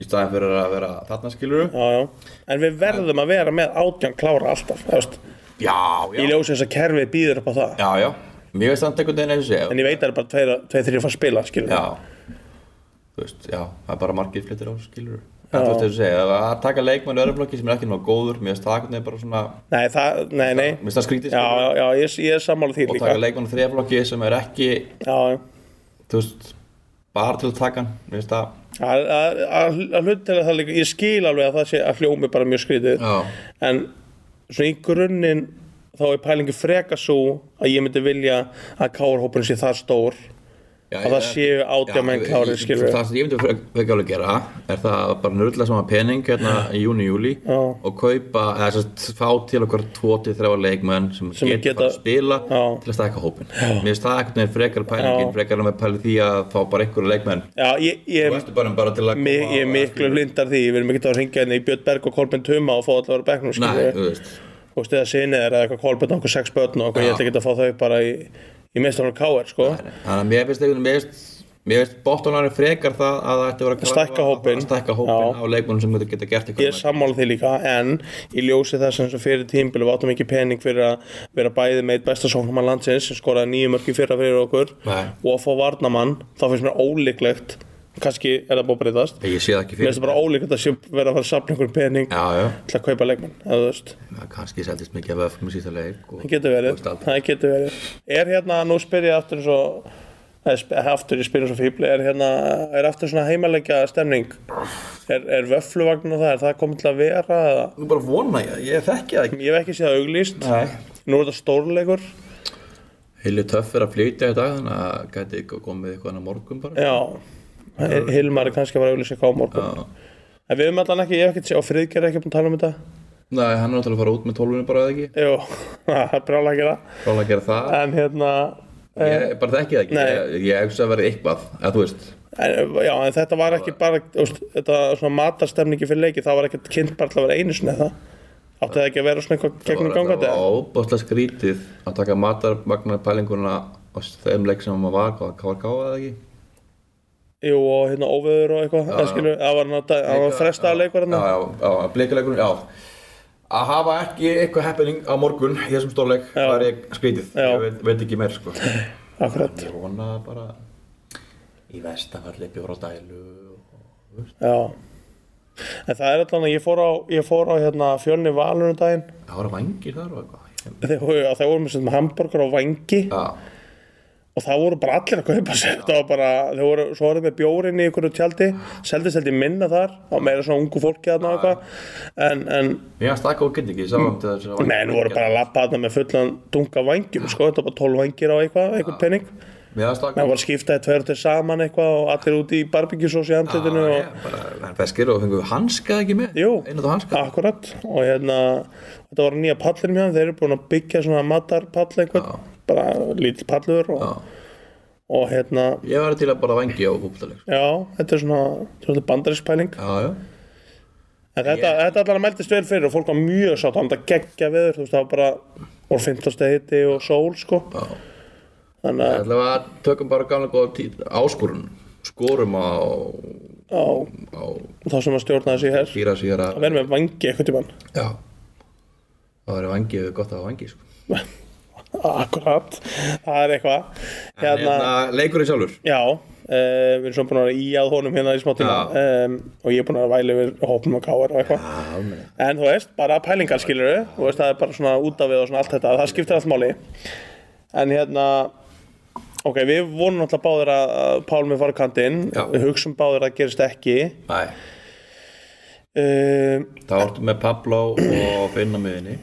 [SPEAKER 3] í staðin fyrir að vera þarna skiluru Já,
[SPEAKER 2] já, já. en við verðum að vera með átján klára alltaf þú veist,
[SPEAKER 3] já,
[SPEAKER 2] í ljósi þess að kerfið býður upp á það
[SPEAKER 3] já, já Mér finnst þannig einhvern veginn eins og segja
[SPEAKER 2] en ég veit að það er bara tveir, tveir þrjir að fara að spila skilur
[SPEAKER 3] Já, þú veist, já, það er bara margir flyttir á skiluru En þú veist þess að segja, að að taka leikmenn öðruflokki sem er ekki nóg góður mér finnst það einhvern veginn bara svona mér
[SPEAKER 2] nei, það, nei, nei já,
[SPEAKER 3] finnst það skrítið
[SPEAKER 2] já,
[SPEAKER 3] skilurðu.
[SPEAKER 2] já, ég, ég er sammála því
[SPEAKER 3] og
[SPEAKER 2] líka
[SPEAKER 3] taka leikmenn þriðaflokki sem er ekki,
[SPEAKER 2] já, já.
[SPEAKER 3] þú veist bara til að taka hann, mér finnst það
[SPEAKER 2] að, að, að, að hlut til að það líka ég skil alveg að það sé að hljómi bara mjög skrítið
[SPEAKER 3] Já.
[SPEAKER 2] en svona í grunninn þá er pælingi freka svo að ég myndi vilja að káarhópurinn sé það stór
[SPEAKER 3] Já,
[SPEAKER 2] að það
[SPEAKER 3] ég-
[SPEAKER 2] séu átjá menn
[SPEAKER 3] Já,
[SPEAKER 2] klárir
[SPEAKER 3] ég-
[SPEAKER 2] skilur
[SPEAKER 3] Það sem ég myndi frek- frekar alveg gera er það að bara nörðla saman pening hérna í júni, júli
[SPEAKER 2] Já.
[SPEAKER 3] og kaupa, eða sérst, fá til okkur 2-3 leikmenn sem,
[SPEAKER 2] Sem
[SPEAKER 3] geta,
[SPEAKER 2] geta-
[SPEAKER 3] bara að spila
[SPEAKER 2] Já.
[SPEAKER 3] til að stækka hópin Mér finnst það einhvern veginn frekar pælingin
[SPEAKER 2] Já.
[SPEAKER 3] frekar með pæli því að fá bara einhverja leikmenn
[SPEAKER 2] Já, ég,
[SPEAKER 3] Þú
[SPEAKER 2] ég,
[SPEAKER 3] ertu bara, bara til að
[SPEAKER 2] mi, ég er miklu blindar því, ég vil mikið þá hringja henni í Björn Berg og Kolbjörn Tuma og fá allar að vera á bekknum
[SPEAKER 3] Nei,
[SPEAKER 2] skilur
[SPEAKER 3] þú veist
[SPEAKER 2] og stiða sinni þeirra eitthvað Kolbjörn og okkur sex börn og okkur, ég
[SPEAKER 3] Já.
[SPEAKER 2] ætla ekki að fá þau bara í, í meistarhóla K.R. sko
[SPEAKER 3] Þannig að mér finnst einhvern veginn mér finnst- Mér finnst bottónarinn frekar það að það ætti að vera að
[SPEAKER 2] stækka
[SPEAKER 3] grafa-
[SPEAKER 2] hópinn.
[SPEAKER 3] að Stækka hópin
[SPEAKER 2] Já.
[SPEAKER 3] á leikmennum sem geta gert eitthvað
[SPEAKER 2] Ég er sammála því líka, en í ljósi þess eins og fyrir tímbil við áttum ekki pening fyrir að vera bæði með eitt besta sóknumann landsins sem skoraði nýju mörki fyrra fyrir okkur
[SPEAKER 3] Nei.
[SPEAKER 2] og að fá varnamann, þá finnst mér ólíklegt kannski er það búið að breytast
[SPEAKER 3] Ég sé það ekki
[SPEAKER 2] Mér
[SPEAKER 3] fyrir
[SPEAKER 2] finnst það bara ólíklegt að sé vera að fara að safna einhverjum pening
[SPEAKER 3] Já, já
[SPEAKER 2] til að kaupa leikmann, eða þú veist
[SPEAKER 3] Já, kannski seldist mikið af öfnum í síðasta leik og,
[SPEAKER 2] Það getur verið,
[SPEAKER 3] veist aldrei.
[SPEAKER 2] það getur verið Er hérna, nú spyr ég aftur eins og eða sp- eh, aftur, ég spyr eins og fíbli er hérna, er aftur svona heimalegja stemning er, er vöfluvagn og það, er það komið til að vera eða?
[SPEAKER 3] Nú bara vona ég, ég þekki það ekki
[SPEAKER 2] ég hef ekki séð það auglýst Nú er þetta stórleikur
[SPEAKER 3] Heilu töff er að flytja í dag þannig að gæti ekki komið eitthvað annað morgun bara
[SPEAKER 2] Já, Hilmar er kannski að fara að auglýsa eitthvað á morgun
[SPEAKER 3] Já.
[SPEAKER 2] En við höfum allan ekki, ég hef ekkert séð, og Friðger er ekki búin að tala um þetta
[SPEAKER 3] Nei, hann er náttúrulega að fara út með tólfunni bara eða ekki
[SPEAKER 2] Jú, það er brála ekki það
[SPEAKER 3] Rála að gera það
[SPEAKER 2] En hérna,
[SPEAKER 3] Ég bara þekki það ekki
[SPEAKER 2] Nei.
[SPEAKER 3] Ég, ég hugsa að vera eitthvað, eða þú veist
[SPEAKER 2] en, já, en þetta var ekki bara, þú veist, þetta svona matastemningi fyrir leiki Það var ekkert kynnt bara til að vera einu sinni það Átti það ekki að vera svona eitthvað gegnum gangandi
[SPEAKER 3] Það var hérna óbáslega skrítið að taka matarvagnar pælinguna á þeim leik sem maður var, hvað var káða eða ekki
[SPEAKER 2] Jú, og hérna óveður og eitthvað, eða skilu, það var, nátt- það var frestaða leikur hérna
[SPEAKER 3] Já, já, já, blikuleikurinn, já Að hafa ekki eitthvað happening á morgun í þessum stórleik, það er ég skrítið
[SPEAKER 2] Já.
[SPEAKER 3] Ég veit, veit ekki meir, sko
[SPEAKER 2] Akkurat,
[SPEAKER 3] Ég vona bara í vestafalli bjóra dælu og...
[SPEAKER 2] já En það er allan að ég fór á, ég fór á hérna, fjölni valunum daginn
[SPEAKER 3] Það voru vangir þar og eitthvað
[SPEAKER 2] þeir voru, að þeir voru með sem hambúrgar og vangi
[SPEAKER 3] Já,
[SPEAKER 2] og það voru bara allir að kaupa sér það var bara, þeir voru, svo voru þeir með bjórin í ykkur tjaldi, seldist held ég minna þar og meira svona ungu fólki þarna og eitthvað en, en,
[SPEAKER 3] mér varst það góð kynningi samt þessu
[SPEAKER 2] menn voru bara að lappa þarna með fullan dunga vangjum, sko, þetta var bara 12 vangir á eitthvað, einhvern penning
[SPEAKER 3] Mér varst það
[SPEAKER 2] menn
[SPEAKER 3] góð
[SPEAKER 2] voru að skipta þetta tveir til saman eitthvað og allir úti í barbíkjusós í andlitinu og,
[SPEAKER 3] bara feskir og fengu hanska ekki með
[SPEAKER 2] Jú, Ah.
[SPEAKER 3] Einu þú hanska
[SPEAKER 2] akkurat og hérna, þetta var nýja pallin mjög þeir eru búin að byggja svona matarpall einhvern, bara lítill pallur og, og hérna
[SPEAKER 3] Ég var til að bara vangi á fútboltaleik sko.
[SPEAKER 2] já, þetta er svona, svona bandarinspæling
[SPEAKER 3] Já, já
[SPEAKER 2] en þetta, þetta allan að meldist vel fyrir og fólk var mjög sátt hann að geggja veður, þú veist, það var bara voru 15. hiti og sól, sko
[SPEAKER 3] Já.
[SPEAKER 2] þannig að,
[SPEAKER 3] Það var að tökum bara gamla góða tí- áskorun Skorum á,
[SPEAKER 2] já,
[SPEAKER 3] á
[SPEAKER 2] þá sem að stjórna þessi hér
[SPEAKER 3] Fýra síðar að
[SPEAKER 2] að vera með vangi eitthvað tímann
[SPEAKER 3] Já Það var vangi, gott að hafa vangi sko.
[SPEAKER 2] akkurat, það er eitthvað
[SPEAKER 3] En
[SPEAKER 2] hérna,
[SPEAKER 3] hérna, leikurinn sjálfur
[SPEAKER 2] já Uh, við erum svona búin að vera í að honum hérna í smá tíma um, og ég er búin að væla yfir hópnum og káar og eitthvað
[SPEAKER 3] Já, meina
[SPEAKER 2] En þú veist, bara pælingar skilur þú veist, það er bara svona út af við og svona allt þetta, það skiptir allt máli. En hérna, ok, við vonum náttúrulega báðir að að Pálmi fara á kantinn,
[SPEAKER 3] Já.
[SPEAKER 2] við hugsum báðir að það gerist ekki.
[SPEAKER 3] Nei,
[SPEAKER 2] Um,
[SPEAKER 3] þá ertu með Pablo og Finn á miðinni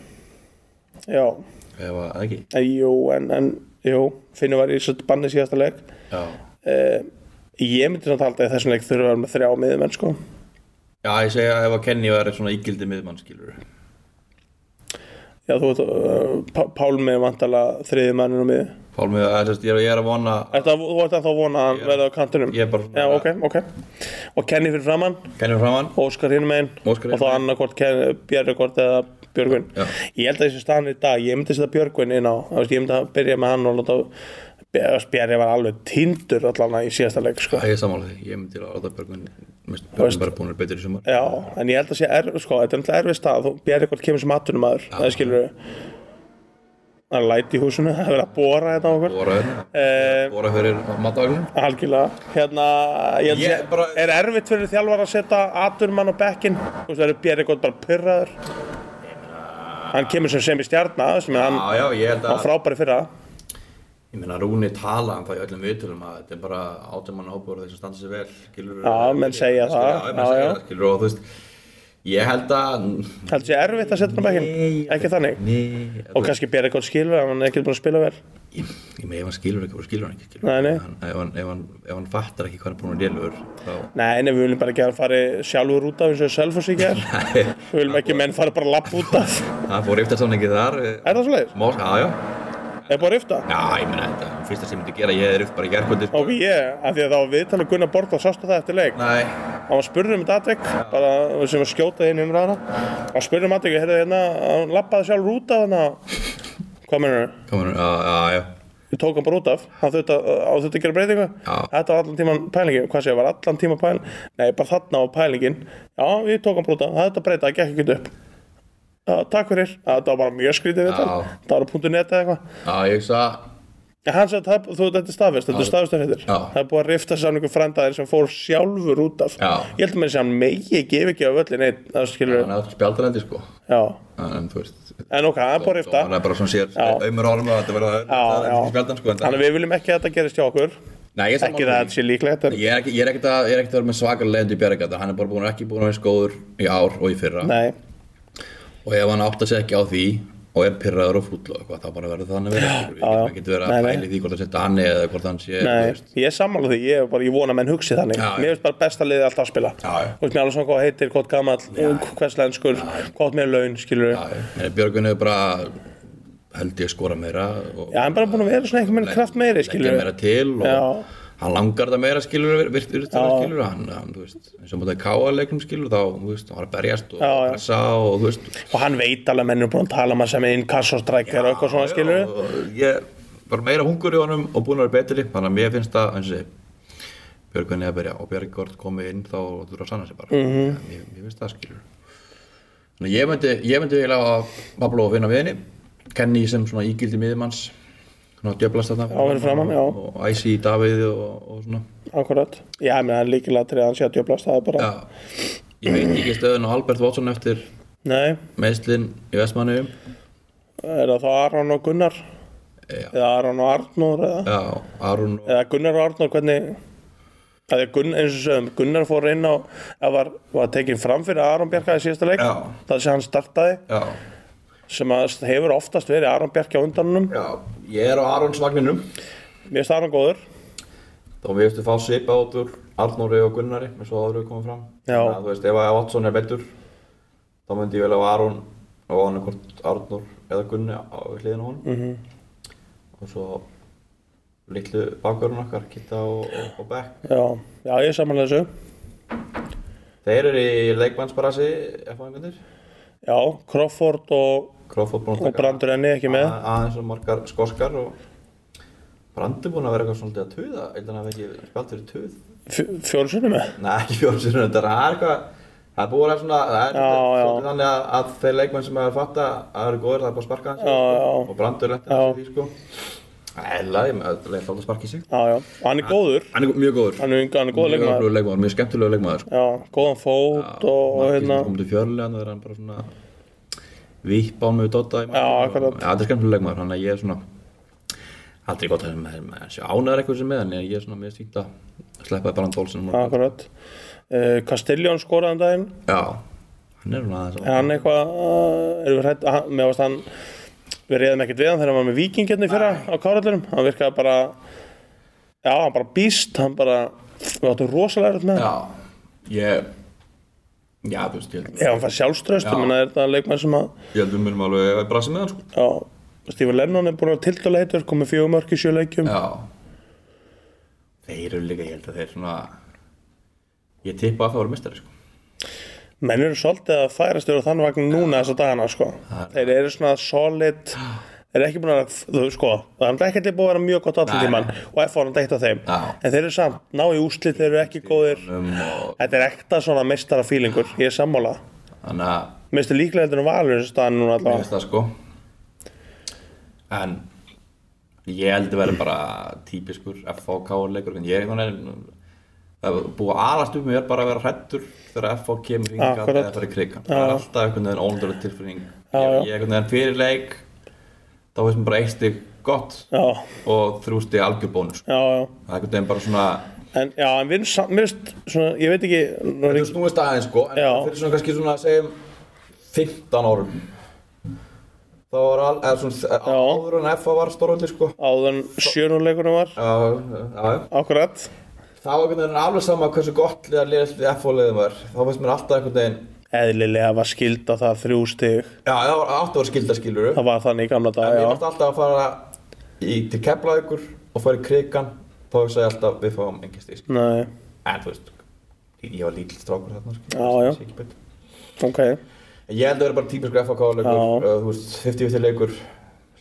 [SPEAKER 2] já,
[SPEAKER 3] eða eða ekki
[SPEAKER 2] en, jú, en, en, jú, Finnur var í svo banni síðasta leik.
[SPEAKER 3] Já,
[SPEAKER 2] Um, ég myndi svona talda að í þessum leik þurfa að vera með þrjá miðumenn, sko.
[SPEAKER 3] já ég segja ef að Kenny var svona ígildi miðmann skilur
[SPEAKER 2] Já, þú veist, uh, Pá- Pálmi er vantala þriði manninn á miði.
[SPEAKER 3] Pálmi, eða, sérst, ég, er, ég er að vona
[SPEAKER 2] Ertu að, þú ert að þá vona að hann verði á kantinum?
[SPEAKER 3] Ég er bara svona-
[SPEAKER 2] Já, ok, ok. Og Kenny fyrir framann?
[SPEAKER 3] Kenny fram hann
[SPEAKER 2] Óskar hinn megin og
[SPEAKER 3] Óskar hinum
[SPEAKER 2] þá
[SPEAKER 3] megin.
[SPEAKER 2] annarkvort Björgvort eða Björgvin
[SPEAKER 3] Já.
[SPEAKER 2] ég held að þessi staðan í dag, ég myndi setja Björgvin inn á þú veist, ég myndi að byrja með hann og láta Björgvin var alveg tindur allan í síðasta leik sko.
[SPEAKER 3] Það er sammála því, ég myndi að ráða Björgun Mest Björgun bara búin er betur í sumar
[SPEAKER 2] já, en ég held að sé er, sko, þetta er náttúrulega erfið stað Björgvin kemur sem atunum aður það skilur við það er læti í húsinu, það er verið að bóra þetta á okkur
[SPEAKER 3] Bóra hérna,
[SPEAKER 2] eh,
[SPEAKER 3] bóra fyrir matavagnum
[SPEAKER 2] algjörlega hérna, ég held að
[SPEAKER 3] Ég
[SPEAKER 2] sé,
[SPEAKER 3] bara-
[SPEAKER 2] er erfitt fyrir þjálfar að setja aturmann á bekkin þú veist, það eru Björgvin bara pyrraður hann kemur sem sem í stjarnar sem hann,
[SPEAKER 3] Já, já, ég held
[SPEAKER 2] hann
[SPEAKER 3] að
[SPEAKER 2] frábæri fyrra
[SPEAKER 3] Ég meina Rúni tala um það í öllum viðtölum að þetta er bara átumann hópur þeir sem standa sér vel skilur
[SPEAKER 2] Já, menn segja það,
[SPEAKER 3] Já, menn
[SPEAKER 2] já,
[SPEAKER 3] segja
[SPEAKER 2] já.
[SPEAKER 3] það skilur og þú veist Ég held að
[SPEAKER 2] heldur sé erfitt að setja hann á bekkinn
[SPEAKER 3] Nei,
[SPEAKER 2] ekki þannig
[SPEAKER 3] Nei,
[SPEAKER 2] og kannski bera eitthvað skilur ef hann er ekki búin að spila vel
[SPEAKER 3] ég, ég með ef hann skilur ekki, þá skilur hann ekki skilur.
[SPEAKER 2] Nei, nei.
[SPEAKER 3] Ef, hann, ef, hann, ef, hann, ef hann fattar ekki hvað hann er búin að délur þá
[SPEAKER 2] Nei, en við viljum bara ekki að hann fari sjálfur út af eins og Selfoss í gær Við viljum ekki að menn fari bara að lappa út af
[SPEAKER 3] það fór eftir samningi þar
[SPEAKER 2] Er það svoleiðis?
[SPEAKER 3] Mós, já, já,
[SPEAKER 2] Er bara að rifta?
[SPEAKER 3] já, ég meina þetta er fyrsta sem ég myndi gera, ég hefði reyft bara í sko. gerkvöldi
[SPEAKER 2] Ok, ég, af því að það var viðtal að Gunnar Borgdal sástu það eftir leik
[SPEAKER 3] Nei,
[SPEAKER 2] Hann var spurður um þetta atvik, bara sem var skjótað inn í umræðana Hann var spurður um atvik, heyrðu hérna, hann lappaði sjálfur út af hann Hvað mennur hann?
[SPEAKER 3] komin, já, já, já
[SPEAKER 2] Við tókum bara út af, hann þurfti að, á þurfti að gera breytingu
[SPEAKER 3] Já.
[SPEAKER 2] Þetta var allan tíman pælingin, hvað sé, var allan tíman pælingin Nei, bara þarna var pælingin Já, við tókum bara út af, það þetta breyta, það gekk ekki upp Já, takk fyrir, Já, þetta var bara mjög skrítið viðtal
[SPEAKER 3] Já.
[SPEAKER 2] Það var á punktu .net eða eitthvað
[SPEAKER 3] Já, ég hugsa,
[SPEAKER 2] En hann sagði, það, þú, þetta er staðfest, þetta er staðfestur hittir
[SPEAKER 3] Já.
[SPEAKER 2] Það er búið að rifta samningu frændaðir sem fór sjálfur út af
[SPEAKER 3] Já.
[SPEAKER 2] Ég held að mér sé að hann megi gefa ekki af öllin einn, það skilur
[SPEAKER 3] hann er alltaf spjaldarendi sko
[SPEAKER 2] Já,
[SPEAKER 3] En þú veist
[SPEAKER 2] en ok, hann er búið að rifta
[SPEAKER 3] Hann er bara svona sér
[SPEAKER 2] Já.
[SPEAKER 3] auðmur ormur að þetta verða
[SPEAKER 2] Já,
[SPEAKER 3] það er
[SPEAKER 2] já.
[SPEAKER 3] ekki spjaldan sko en það-
[SPEAKER 2] Þannig að við viljum ekki að þetta gerist hjá okkur
[SPEAKER 3] Nei, ég er
[SPEAKER 2] Ekki það að
[SPEAKER 3] saman
[SPEAKER 2] þetta sé líklegt en...
[SPEAKER 3] Ég er ekki- ég er ekkert að, ég er ekkert að vera með svakar leiðandi í bjargat Hann er bara búin, ekki búin að vera skóður í ár og í fyrra
[SPEAKER 2] Nei,
[SPEAKER 3] Og ef hann átt að segja ekki á því og er pyrraður og fúll og eitthvað þá bara verður þannig að vera skilur við.
[SPEAKER 2] Já, já.
[SPEAKER 3] Við getum verið
[SPEAKER 2] Nei,
[SPEAKER 3] að
[SPEAKER 2] nei.
[SPEAKER 3] pæli því hvort hann setja hann eða hvort hann sé þú
[SPEAKER 2] nei,
[SPEAKER 3] veist.
[SPEAKER 2] ég er sammála því, ég, er bara, ég vona að menn hugsi þannig
[SPEAKER 3] Já, já.
[SPEAKER 2] Mér finnst bara best að liði alltaf að spila
[SPEAKER 3] Já, já.
[SPEAKER 2] Þú veist mér alveg svona hvað heitir, hvað gamall, hvers lenskur, hvað með laun, skilur
[SPEAKER 3] Já, já. Björgun hefur bara held ég skora meira og,
[SPEAKER 2] Já, hann er bara búinn að vera svona einhvern veginn
[SPEAKER 3] Legg-
[SPEAKER 2] kraft meiri, skilur
[SPEAKER 3] leggja meira til og
[SPEAKER 2] Já.
[SPEAKER 3] hann langar það meira skilur vir, vir, vir, skilur hann, hann, þú veist eins og mútið að káa leiknum skilur þá, þú veist, hann var að berjast og
[SPEAKER 2] Já, já.
[SPEAKER 3] pressa og, þú veist
[SPEAKER 2] Og hann veit alveg að menn er búin að tala um að sem einn kassostrækjar og eitthvað svona skilur
[SPEAKER 3] og ég var meira hungur í honum og búinn að vera betri, þannig að mér finnst það eins og Björgun eða berja og Björgord komið inn þá og þú eru að sanna sig bara
[SPEAKER 2] Mhm.
[SPEAKER 3] mm -hmm. mér, mér finnst það skilur þannig að ég myndi, ég myndi eiginlega að Pablo finna viðinni, Kenny sem svona ígildi miðjumanns, svona djöflast þarna
[SPEAKER 2] Já, fyrir framan, já.
[SPEAKER 3] og Æsi í Davíð og, og svona
[SPEAKER 2] Akkurat Já, ég meina, hann líkilega til að hann sé að djöblast Það er bara,
[SPEAKER 3] Já, ég veit ekki stöðun á Albert Watson eftir
[SPEAKER 2] nei,
[SPEAKER 3] meðslinn í Vestmannum
[SPEAKER 2] er það þá Aron og Gunnar
[SPEAKER 3] Já.
[SPEAKER 2] Eða Aron og Arnór eða,
[SPEAKER 3] Já, Arun og
[SPEAKER 2] eða Gunnar og Arnór, hvernig Það er Gunnar, eins og sögum, Gunnar fór inn á Það var, var tekin fram fyrir Aron Bjarka í síðasta leik
[SPEAKER 3] Já.
[SPEAKER 2] Það sé hann startaði
[SPEAKER 3] Já,
[SPEAKER 2] Sem að hefur oftast verið Aron Bjarki á undanunum
[SPEAKER 3] já, ég er á Aruns vagninum
[SPEAKER 2] Mér finnst Aron góður
[SPEAKER 3] Þá við veistu fá svipa át úr Arnóri og Gunnari eins og áður við komum fram
[SPEAKER 2] Já.
[SPEAKER 3] Þannig að Þú veist, ef að Watson er betur þá myndi ég vel á Arun og hann hvort Arnór eða Gunni á á hliðina á honum -hmm.
[SPEAKER 2] Mhm.
[SPEAKER 3] og svo litlu bakvörun okkar, Kitta og, og, og Beck
[SPEAKER 2] Já, já ég er samanlega þessu
[SPEAKER 3] Þeir eru í leikmannsbrasi F-fæðingundir
[SPEAKER 2] Já, Crawford og,
[SPEAKER 3] Crawford búinn að
[SPEAKER 2] og
[SPEAKER 3] taka
[SPEAKER 2] Brandur enni ekki með
[SPEAKER 3] A- aðeins og margar skoskar og Brandi búinn að vera eitthvað svolítið að tuða eitthvað að ekki spjált fyrir tuð
[SPEAKER 2] Fjólsunni með
[SPEAKER 3] Nei, ekki fjómsinu, þetta er það er eitthvað það er búið að vera svona, það er
[SPEAKER 2] Já, já.
[SPEAKER 3] svolítið þannig að, að þeir leikmenn sem hefur fatta að eru góðir það er búið að sparka hans
[SPEAKER 2] Já, já.
[SPEAKER 3] og Brandur lenti
[SPEAKER 2] Já.
[SPEAKER 3] hans í því sko Æla, ég með þetta leitt alltaf að sparka í sig
[SPEAKER 2] Já, já, hann er góður
[SPEAKER 3] Hann er mjög góður
[SPEAKER 2] Hann er, hann er góð
[SPEAKER 3] Mjög
[SPEAKER 2] leikmaður
[SPEAKER 3] öflugur leikmaður, mjög skemmtilegur leikmaður sko.
[SPEAKER 2] Já, góðan fót og, og hérna
[SPEAKER 3] komið til fjörlega, þannig er hann bara svona vipp án með Dota í markinu
[SPEAKER 2] Já,
[SPEAKER 3] og-
[SPEAKER 2] akkurat.
[SPEAKER 3] Já, þetta er skemmtileg leikmaður, þannig að ég er svona aldrei gott að sem með þessi ánæður eitthvað sem með hann, ég er svona mjög stínt að sleppa bara hann Dólsson
[SPEAKER 2] Akkurat uh, Castelljón skoraði um daginn
[SPEAKER 3] Já, hann er svona aðeins
[SPEAKER 2] En hann eitthvað uh, Erum við hrætt Mér varst hann Við reyðum ekkert við hann þegar hann var með Víking hérna í fyrra á Kárallurum Hann virkaði bara Já, hann bara býst Hann bara Við áttum rosalega erfitt með hann
[SPEAKER 3] Já, ég Já, þú veist, ég held-
[SPEAKER 2] Ef hann fær sjálfströst Ég meina er þetta leikmenn sem að
[SPEAKER 3] ég held við munum alveg að brasa með hann sko
[SPEAKER 2] Já Stífur Lennon er búin að tiltala heitur Komið fjögum örk í sjöleikjum
[SPEAKER 3] Já Þeir eru líka, ég held að þeir svona Ég tippa að það voru mistari sko
[SPEAKER 2] menn eru svolítið að færast yfir á þann vagn núna þessa dagana sko. þeir eru svona solid þeir eru ekki búin að þú veist sko það er ekki búin að vera mjög gott allan
[SPEAKER 3] Nei.
[SPEAKER 2] tíman og F var hann deitt á þeim
[SPEAKER 3] Já.
[SPEAKER 2] en þeir eru samt, ná í úslit, þeir eru ekki góðir
[SPEAKER 3] um, og,
[SPEAKER 2] þetta er ekta svona mestara fílingur ég er sammála,
[SPEAKER 3] Þannig að
[SPEAKER 2] mestu líklega heldur en valur þessu staðan núna
[SPEAKER 3] Mér
[SPEAKER 2] allavega
[SPEAKER 3] finnst það sko En Ég held að vera bara típiskur FHK leikur En ég er einhvern veginn Það er búið að alast upp mér bara að vera hrættur Þegar FH kemur hingað
[SPEAKER 2] Akkurat.
[SPEAKER 3] eða fyrir krigan Það er alltaf einhvern veginn óndur tilfinning
[SPEAKER 2] Já,
[SPEAKER 3] Ég
[SPEAKER 2] já.
[SPEAKER 3] ég er einhvern veginn fyrir leik Þá veist mér bara eitt stig gott
[SPEAKER 2] já,
[SPEAKER 3] Og þrjústi algjörbónus
[SPEAKER 2] já, já
[SPEAKER 3] Það er einhvern veginn bara svona
[SPEAKER 2] en, já, en við erum samt, mér finnst svona, ég veit ekki nú er
[SPEAKER 3] Þú
[SPEAKER 2] ekki,
[SPEAKER 3] snúist aðeins sko En
[SPEAKER 2] Já.
[SPEAKER 3] fyrir svona kannski svona segjum 15 árum þá var al, eða svona
[SPEAKER 2] Já.
[SPEAKER 3] áður en FA var stóröldi sko
[SPEAKER 2] áðan sjönuleikunum var
[SPEAKER 3] Já, já, já.
[SPEAKER 2] akkurat
[SPEAKER 3] þá einhvern veginn er alveg sama hversu gott liðar liðast við FA liðum var þá finnst mér alltaf einhvern veginn
[SPEAKER 2] eðlilega var skilda það þrjú stig
[SPEAKER 3] já, það var átt að vera skilda skiluru
[SPEAKER 2] það var þannig í gamla
[SPEAKER 3] en
[SPEAKER 2] dag
[SPEAKER 3] ég
[SPEAKER 2] já.
[SPEAKER 3] varst alltaf að fara í, til Keflavíkur og fara í krigan þá hugsa ég alltaf við fáum engin stíð
[SPEAKER 2] Nei,
[SPEAKER 3] en þú veist, ég var lítill strákur þarna sko,
[SPEAKER 2] Já,
[SPEAKER 3] ég
[SPEAKER 2] já.
[SPEAKER 3] sé ekki betur.
[SPEAKER 2] ok
[SPEAKER 3] En ég held að vera bara típisk FAK-leikur,
[SPEAKER 2] Já.
[SPEAKER 3] uh, þú veist, 50-50 leikur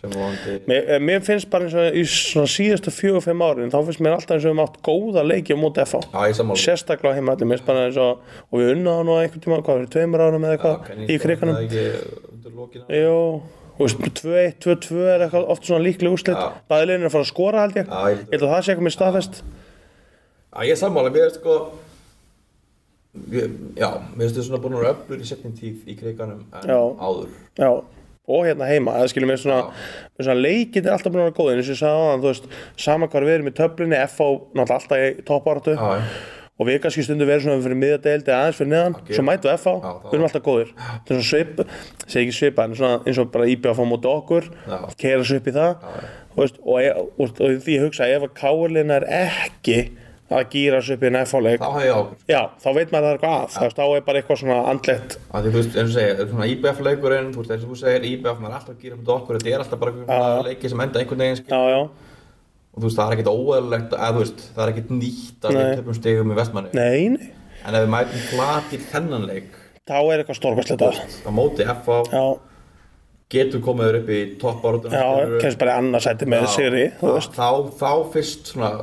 [SPEAKER 3] sem vonandi
[SPEAKER 2] mér, eh, mér finnst bara eins og í svona síðustu fjögur-fimm árin þá finnst mér alltaf eins og við mátt góða leiki á móti FH
[SPEAKER 3] Já, ég sammála
[SPEAKER 2] sérstaklega á heimaðli, mér finnst bara eins og og við unnaðum nú einhvern tíma, hvað fyrir tveimur árum eða
[SPEAKER 3] Já,
[SPEAKER 2] eitthvað,
[SPEAKER 3] Kenny
[SPEAKER 2] í
[SPEAKER 3] Stone,
[SPEAKER 2] kriganum
[SPEAKER 3] það er ekki undir lokin á-
[SPEAKER 2] Jú, þú veist, 2-1, 2-2 er eitthvað oft svona líkleg úrslit
[SPEAKER 3] Já.
[SPEAKER 2] Bæðilegin er að fara að skora held ég
[SPEAKER 3] Já,
[SPEAKER 2] Ég
[SPEAKER 3] ég held-
[SPEAKER 2] held að það sé eitthvað mér staðfest
[SPEAKER 3] Já, ég er sammála, mér er sko ég, Já, mér finnst þið svona búin að vera öflur í setjum tíð í kriganum en
[SPEAKER 2] Já.
[SPEAKER 3] áður
[SPEAKER 2] Já, og hérna heima, það skilur mér svona,
[SPEAKER 3] Já.
[SPEAKER 2] mér svona leikið er alltaf búin að vera góð En eins og ég sagði á þú veist, saman hvar við erum í töflinni F.O. náttúrulega alltaf í toppartu
[SPEAKER 3] Já, já.
[SPEAKER 2] Og við kannski stundum verið svona fyrir miðjadeild eða aðeins fyrir neðan
[SPEAKER 3] Ok.
[SPEAKER 2] Svo mætum við F.O.
[SPEAKER 3] Já, það
[SPEAKER 2] við erum
[SPEAKER 3] var-
[SPEAKER 2] alltaf góðir Það er svona svip, segi ekki svipa, en svona eins og bara IBF á móti okkur
[SPEAKER 3] Já.
[SPEAKER 2] Keira svo upp í það
[SPEAKER 3] Já, já.
[SPEAKER 2] Þú veist, og, ég- og, og, og því ég hugsa ef að káurlina er ekki að gýra svo upp í nefáleik
[SPEAKER 3] Þá hef ég sko. áhugur
[SPEAKER 2] Já, þá veit maður að það er eitthvað að, þú veist, þá er bara eitthvað svona andlegt
[SPEAKER 3] að því þú veist, eins og segja, svona IBF leikurinn þú veist, eins og þú segir, IBF maður er alltaf að gýra með okkur þetta er alltaf bara einhvern leiki sem enda einhvern veginn skil.
[SPEAKER 2] Já, já,
[SPEAKER 3] og þú veist, það er ekkert óeðlilegt að þú veist, það er ekkert nýtt að við
[SPEAKER 2] Nei.
[SPEAKER 3] töpum stegum í vestmanni
[SPEAKER 2] nei, nei
[SPEAKER 3] en ef við mætum flatir þennan leik
[SPEAKER 2] Þá er eitthvað stórkvæslega
[SPEAKER 3] á móti FA
[SPEAKER 2] Já,
[SPEAKER 3] getur komið þér upp í toppbárhundun
[SPEAKER 2] já, kemst bara í annarsæti með sigri, þú veist
[SPEAKER 3] þá, þá fyrst svona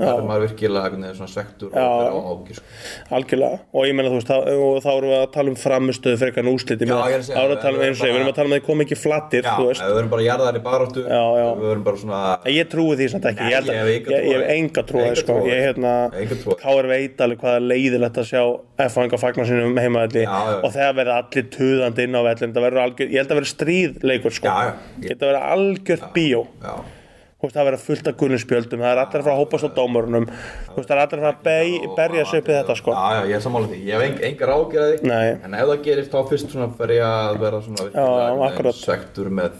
[SPEAKER 3] það er maður virkilega einhvern veginn svona svektur
[SPEAKER 2] Já.
[SPEAKER 3] og verið á ágir sko.
[SPEAKER 2] Algjörlega, og ég meina þú veist, þá, og þá erum við að tala um framistöðu fyrir eitthvað úsliti
[SPEAKER 3] Já,
[SPEAKER 2] Þá
[SPEAKER 3] ég er að
[SPEAKER 2] erum við að tala um
[SPEAKER 3] segja, við
[SPEAKER 2] eins og ég, við erum að tala um að þið kom ekki flattir,
[SPEAKER 3] já,
[SPEAKER 2] þú
[SPEAKER 3] ef
[SPEAKER 2] veist
[SPEAKER 3] við verum bara jarðar í baráttu
[SPEAKER 2] Já, já.
[SPEAKER 3] ef við verum bara svona
[SPEAKER 2] En Ég trúi því samt ekki,
[SPEAKER 3] Nei,
[SPEAKER 2] ég, held
[SPEAKER 3] ég
[SPEAKER 2] að,
[SPEAKER 3] hef
[SPEAKER 2] ég,
[SPEAKER 3] enga
[SPEAKER 2] ég
[SPEAKER 3] trú á
[SPEAKER 2] hef
[SPEAKER 3] því.
[SPEAKER 2] enga trú að því, sko,
[SPEAKER 3] Enga trú á því.
[SPEAKER 2] ég hérna,
[SPEAKER 3] Enga trú á því.
[SPEAKER 2] Káur veit alveg hvað er leiðilegt að sjá F-fanga fagnar sínum heimaðalli
[SPEAKER 3] Já, já.
[SPEAKER 2] og þegar verða allir tuðandi inn á vellum, það verður algjör, ég held að verða stríðleikur, sko,
[SPEAKER 3] Já, já.
[SPEAKER 2] ég held að verða algjör bíó,
[SPEAKER 3] já,
[SPEAKER 2] þú veist, það verða fullt af gulnum spjöldum, það er allir að fara að hópast á dómurunum, þú veist, það er allir að fara að bey- berja sig upp í þetta, sko,
[SPEAKER 3] já, já, ég er sammála því ég hef eng, engar ágjur að því
[SPEAKER 2] Nei.
[SPEAKER 3] en ef það gerist þá fyrst svona fer ég að vera svona
[SPEAKER 2] Já, já,
[SPEAKER 3] einhvern veginn
[SPEAKER 2] akkurat.
[SPEAKER 3] svektur með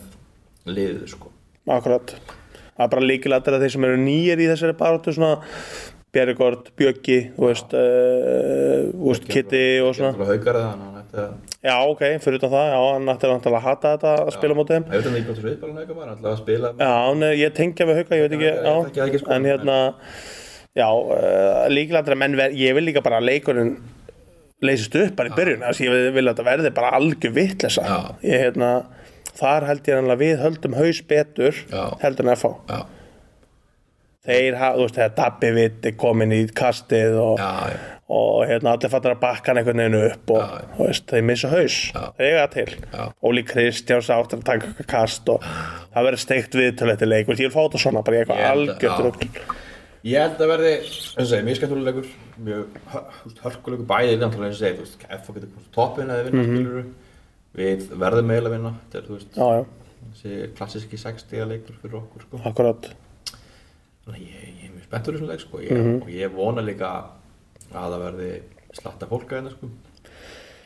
[SPEAKER 3] liðið sko
[SPEAKER 2] akkurat, það er bara líkilættir að þeir sem eru nýjir í þessari baróttu, svona, Bjerregord, Bjöggi, þú veist, uh, þú veist, Kitty og svona,
[SPEAKER 3] Náttúrulega haukar eða hann ætti að
[SPEAKER 2] Já, ok, fyrir utan það, já, hann ætti náttúrulega að hata þetta að spila mótið þeim.
[SPEAKER 3] ef þetta er líka til viðbælan haukar maður ætlaði að spila
[SPEAKER 2] Já, hann er, ég tengja við hauka, ég veit
[SPEAKER 3] Já, ég
[SPEAKER 2] ekki,
[SPEAKER 3] þekki það ekki,
[SPEAKER 2] já,
[SPEAKER 3] sko.
[SPEAKER 2] en hérna, já, uh, líkilega þetta menn, ver, ég vil líka bara að leikurinn leysist upp bara í byrjun, þess að ég vil- vil að þetta verði bara algjör vitlesa.
[SPEAKER 3] Já.
[SPEAKER 2] Ég, hérna, þar held ég hann að við höldum haus betur,
[SPEAKER 3] Já.
[SPEAKER 2] heldur en FH.
[SPEAKER 3] já,
[SPEAKER 2] Þeir, ha- þú veist, þegar Dabbi Vitti komin í kastið og...
[SPEAKER 3] já, já.
[SPEAKER 2] og hérna allir fattar að bakka hann einhvern veginn upp og
[SPEAKER 3] Já, já.
[SPEAKER 2] þú veist, þeir missa haus þeir eiga það til,
[SPEAKER 3] Já.
[SPEAKER 2] Óli Kristjáns áttur að taka eitthvað kast og það verður steikt við til þetta leik, Þú veist, ég vil fá þetta svona bara í eitthvað
[SPEAKER 3] Ég held að-
[SPEAKER 2] algjört
[SPEAKER 3] já.
[SPEAKER 2] rugl.
[SPEAKER 3] Ég held að verði, eins og segja, mjög skemmtulegur, mjög hör- þú veist, hörkulegur bæði, náttúrulega eins og segja, þú veist, FH getur komst á toppin að vinna, mm við verðum eiginlega að vinna, þetta er, þú veist,
[SPEAKER 2] Mhm. já, já,
[SPEAKER 3] þessi klassíski 60 leikur fyrir okkur, sko.
[SPEAKER 2] akkurat
[SPEAKER 3] Þannig að ég, ég er mjög spenntur í þessum leik, sko, ég,
[SPEAKER 2] Mhm.
[SPEAKER 3] og ég vona líka að það verði slatta fólk að hérna, sko.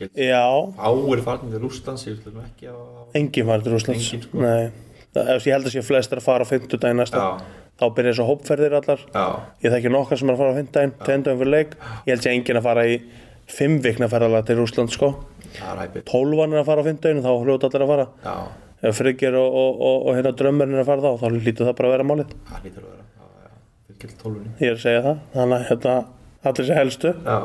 [SPEAKER 3] Ég held
[SPEAKER 2] já,
[SPEAKER 3] áir farnir til Rústlands, ég vil ekki að...
[SPEAKER 2] engin var til Rúslands
[SPEAKER 3] Enginn, sko.
[SPEAKER 2] nei, það, ef- ég held að sé flestir að fara á fimmtudaginn næsta,
[SPEAKER 3] Já.
[SPEAKER 2] þá byrja þessu hópferðir allar
[SPEAKER 3] Já,
[SPEAKER 2] ég þekki nokkar sem er að fara á fimmtudaginn, tegndaginn fyrir leik ég held sé engin að fara í fimm vikna ferðalega til Rúsland sko,
[SPEAKER 3] það er hæpið.
[SPEAKER 2] tólvan er að fara á fimmtudaginn þá hljóta allir að fara
[SPEAKER 3] Já,
[SPEAKER 2] ef Friggir og, og, og, og hérna drömmurinn er að fara þá þá lítur það bara að vera málið
[SPEAKER 3] það lítur að vera, já, já, fyrir gild tólfunni.
[SPEAKER 2] ég er að segja það þannig að hérna, allir sem helstu
[SPEAKER 3] Já.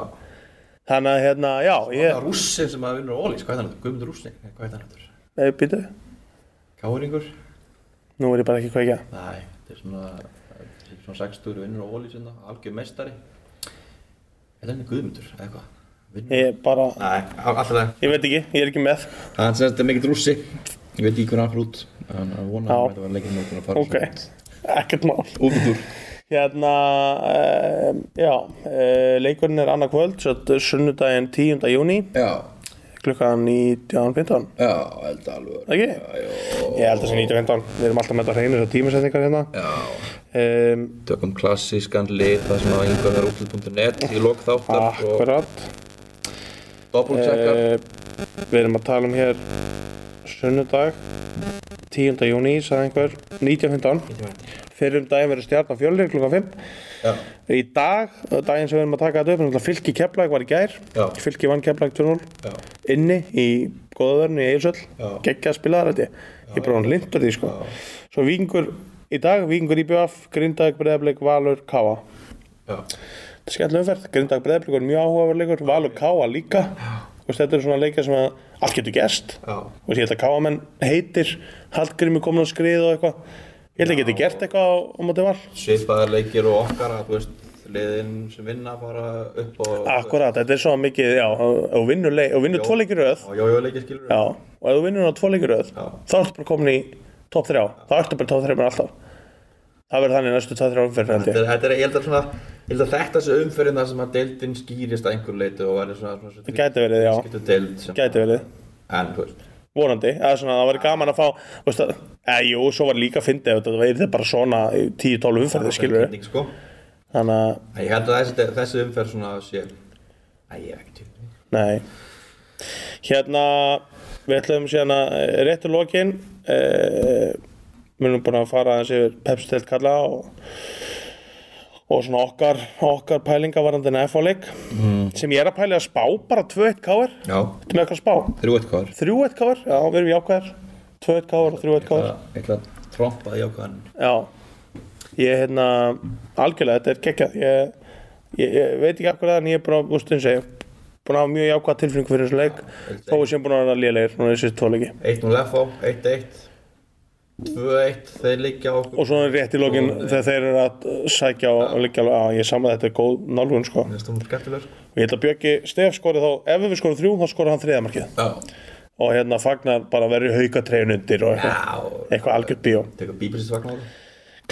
[SPEAKER 2] þannig að hérna, já,
[SPEAKER 3] Það
[SPEAKER 2] ég
[SPEAKER 3] er rússin sem að vinnur Ólís, sko, hvað er það náttúrulega? Guðmundur Rússin, Nei, hvað er það náttúrulega?
[SPEAKER 2] eða býtu,
[SPEAKER 3] Káringur?
[SPEAKER 2] eh, nú er ég bara ekki kveikja
[SPEAKER 3] Nei, þetta er svona, þetta er svona 60 vinnur Ólís hérna, algjör mestari. Þetta er henni Guðmundur, eða eitthvað. Vinnur.
[SPEAKER 2] ég bara,
[SPEAKER 3] Nei, á- alltaf það.
[SPEAKER 2] ég veit ekki, ég er ekki með
[SPEAKER 3] Það er sem sagt mikill rússi, ég veit ekki hvernig hann fyrir út, en að vona
[SPEAKER 2] Já.
[SPEAKER 3] að þetta var leikinn með okkur að fara
[SPEAKER 2] ok, ekkert mál
[SPEAKER 3] Úfundur.
[SPEAKER 2] hérna, um, já uh, leikurinn er annað kvöld svo þetta er sunnudaginn 10. júni
[SPEAKER 3] Já,
[SPEAKER 2] klukkan 19.15
[SPEAKER 3] já, held að alveg.
[SPEAKER 2] ekki? ég held að það sé 19.15, við erum alltaf með þetta hreinu svo tímasetningar hérna
[SPEAKER 3] Já,
[SPEAKER 2] um,
[SPEAKER 3] tökum klassískan lit, það sem að yngvar er útlut.net í lok þáttar og
[SPEAKER 2] akkurat
[SPEAKER 3] doppeltsekkar.
[SPEAKER 2] Eh, Við erum að tala um hér sunnudag 10. júni, sagði einhver 1915, fyrir um daginn verður stjarnan fjölnir klukkan 5
[SPEAKER 3] Já,
[SPEAKER 2] í dag, daginn sem við erum að taka þetta upp náttúrulega fylki Keflag var í gær
[SPEAKER 3] Já.
[SPEAKER 2] fylki vann Keflag 2-0
[SPEAKER 3] já,
[SPEAKER 2] inni í góðaverðinu í
[SPEAKER 3] Já.
[SPEAKER 2] Eilsöll geggja að spila þetta ég bara hann lindur því sko svo vikingur í dag, vikingur í BF Grindag, Breiðablik, Valur, Káa
[SPEAKER 3] já
[SPEAKER 2] þetta er skemmtileg umferð, Grindag, Breiðablik er mjög áhugaverleikur Valur, Káa líka og þetta eru svona leikja sem að allt getur gerst
[SPEAKER 3] Já.
[SPEAKER 2] og ég held að Káa menn heitir Hallgrími komin á skrið og eitthvað ég held að geti gert eitthvað á, á móti val
[SPEAKER 3] Svipaðar leikir og okkar að, þú veist, liðin sem vinna bara upp og
[SPEAKER 2] Akkurat, þetta er svo mikið, já, og vinnur, leik- og vinnur tvo leikir í röð
[SPEAKER 3] Og jójóleikir skilur
[SPEAKER 2] Já, og ef þú vinnur á tvo leikir í röð
[SPEAKER 3] Já.
[SPEAKER 2] þá ertu bara komin í top 3 þá ertu bara top 3 með alltaf það verður þannig næstu 2-3 umferð held
[SPEAKER 3] Þetta
[SPEAKER 2] ég
[SPEAKER 3] er, þetta er, ég held að svona, ég held að þetta sé umferðin þar sem að deildin skýrist að einhver leitu og verður svona, svona, svona
[SPEAKER 2] Gæti verið, já.
[SPEAKER 3] Skýrtu deild sem
[SPEAKER 2] gæti verið,
[SPEAKER 3] En, þú veist,
[SPEAKER 2] vonandi eða svona, það verður gaman að fá veist, að, eða, jú, svo var líka fyndið ef þetta verður bara svona í 10-12 umferði skilur
[SPEAKER 3] kynning, sko
[SPEAKER 2] þannig að,
[SPEAKER 3] En ég held að þessi, þessi umferð svona sé Æ, ég hef ekki til
[SPEAKER 2] nei hérna, við ætlum síðan að eh, rétt réttu lokin eh, munum búin að fara aðeins yfir pepsitelt kalla og og svona okkar, okkar pælinga varandi nefáleik mm. sem ég er að pæli að spá bara 2-1 káir
[SPEAKER 3] Já,
[SPEAKER 2] Þetta með eitthvað spá
[SPEAKER 3] þrjú eitt kvar
[SPEAKER 2] 3-1 káir, já, við erum jákvæðar 2-1 káir og 3-1 káir
[SPEAKER 3] Ég ætla að trompa í ákvæðan
[SPEAKER 2] Já Ég, hérna, algjörlega, þetta er kekkjað ég, ég, ég veit ekki akkur það en ég er búin að, úst, eins og ég búin að hafa mjög jákvæð tilfinningu fyrir þessu leik þó við séum búin að vera lélegir núna þessi tvoleiki
[SPEAKER 3] 1-0 FH, 1-1 2-1, þeir liggja á okkur
[SPEAKER 2] og svona rétt í lokin þegar þeir eru að uh, sækja og leikja alveg að ég saman þetta er góð nálgun sko
[SPEAKER 3] Mér finnst það mjög skemmtilegur sko.
[SPEAKER 2] og ég held að Björki Stef skori þá ef við skorum þrjú þá skori hann þriðamarkið
[SPEAKER 3] Já
[SPEAKER 2] og hérna fagnar bara verið haukatreyn undir og eitthvað,
[SPEAKER 3] Já
[SPEAKER 2] eitthvað algjört bíó
[SPEAKER 3] Tekur bíblisins vagn á það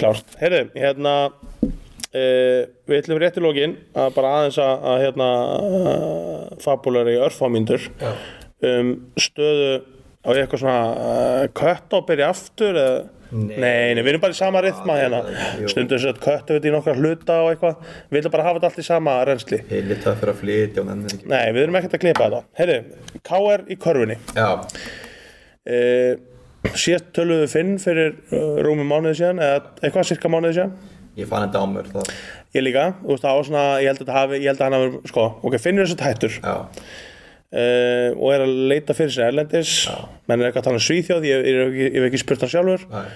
[SPEAKER 2] Klárt, heyrðu, hérna uh, við ætlum rétt í lokin að bara aðeins að, að hérna uh, fabulari örfámyndur
[SPEAKER 3] Já.
[SPEAKER 2] um stöðu á ég eitthvað svona uh, kött á að byrja aftur eða
[SPEAKER 3] Nei.
[SPEAKER 2] Nei, nei, við erum bara í sama rytma
[SPEAKER 3] Já,
[SPEAKER 2] hérna
[SPEAKER 3] jú.
[SPEAKER 2] stundum þess að köttu við í nokkra hluta og eitthvað við ætlum bara að hafa þetta allt í sama reynsli
[SPEAKER 3] Heili það fyrir að flytja og nennir ekki
[SPEAKER 2] Nei, við erum ekkert að klippa þetta Heyrðu, KR í körfunni
[SPEAKER 3] Já,
[SPEAKER 2] uh, síðast töluðu Finn fyrir uh, rúmi mánuði síðan eða eitthvað cirka mánuði síðan
[SPEAKER 3] Ég fann þetta á mér það.
[SPEAKER 2] Ég líka, þú veist, það var svona, ég held að þetta hafi, ég held að hann hafi, sko, ok, finnur þessu tættur uh,
[SPEAKER 3] Já,
[SPEAKER 2] og er að leita fyrir sér erlendis, menn er eitthvað þannig svíþjóð, ég, ég, hef ekki- ég hef ekki spurt hann sjálfur
[SPEAKER 3] Nei.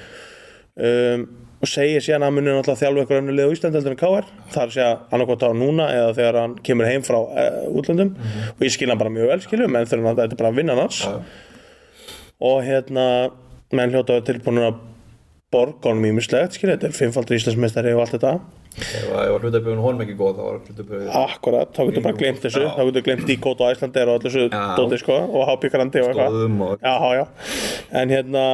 [SPEAKER 2] um, og segir síðan að hann munir náttúrulega þjálfu eitthvað önnur lið á Íslandi heldur en K.R. Það er að segja annarkot á núna eða þegar hann kemur heim frá uh, útlöndum og ég skil hann bara mjög vel, skilum, en þegar hann þetta er bara vinnan hans
[SPEAKER 3] Já.
[SPEAKER 2] og hérna, menn hljóta tilbúinu að borga honum ímislegt, skilum, þetta er fimmfaldur Íslandsmeistari og allt þetta
[SPEAKER 3] ef að- ef að hlutaböfun honum ekki góð þá var hlutaböfun
[SPEAKER 2] Akkurat, þá getur bara glemt þessu
[SPEAKER 3] Já.
[SPEAKER 2] þá getur glemt Díkót og Æslandir og allir þessu
[SPEAKER 3] Já.
[SPEAKER 2] dóti sko og hábyggarandi og
[SPEAKER 3] Stóðum og-
[SPEAKER 2] Já, já, já En hérna,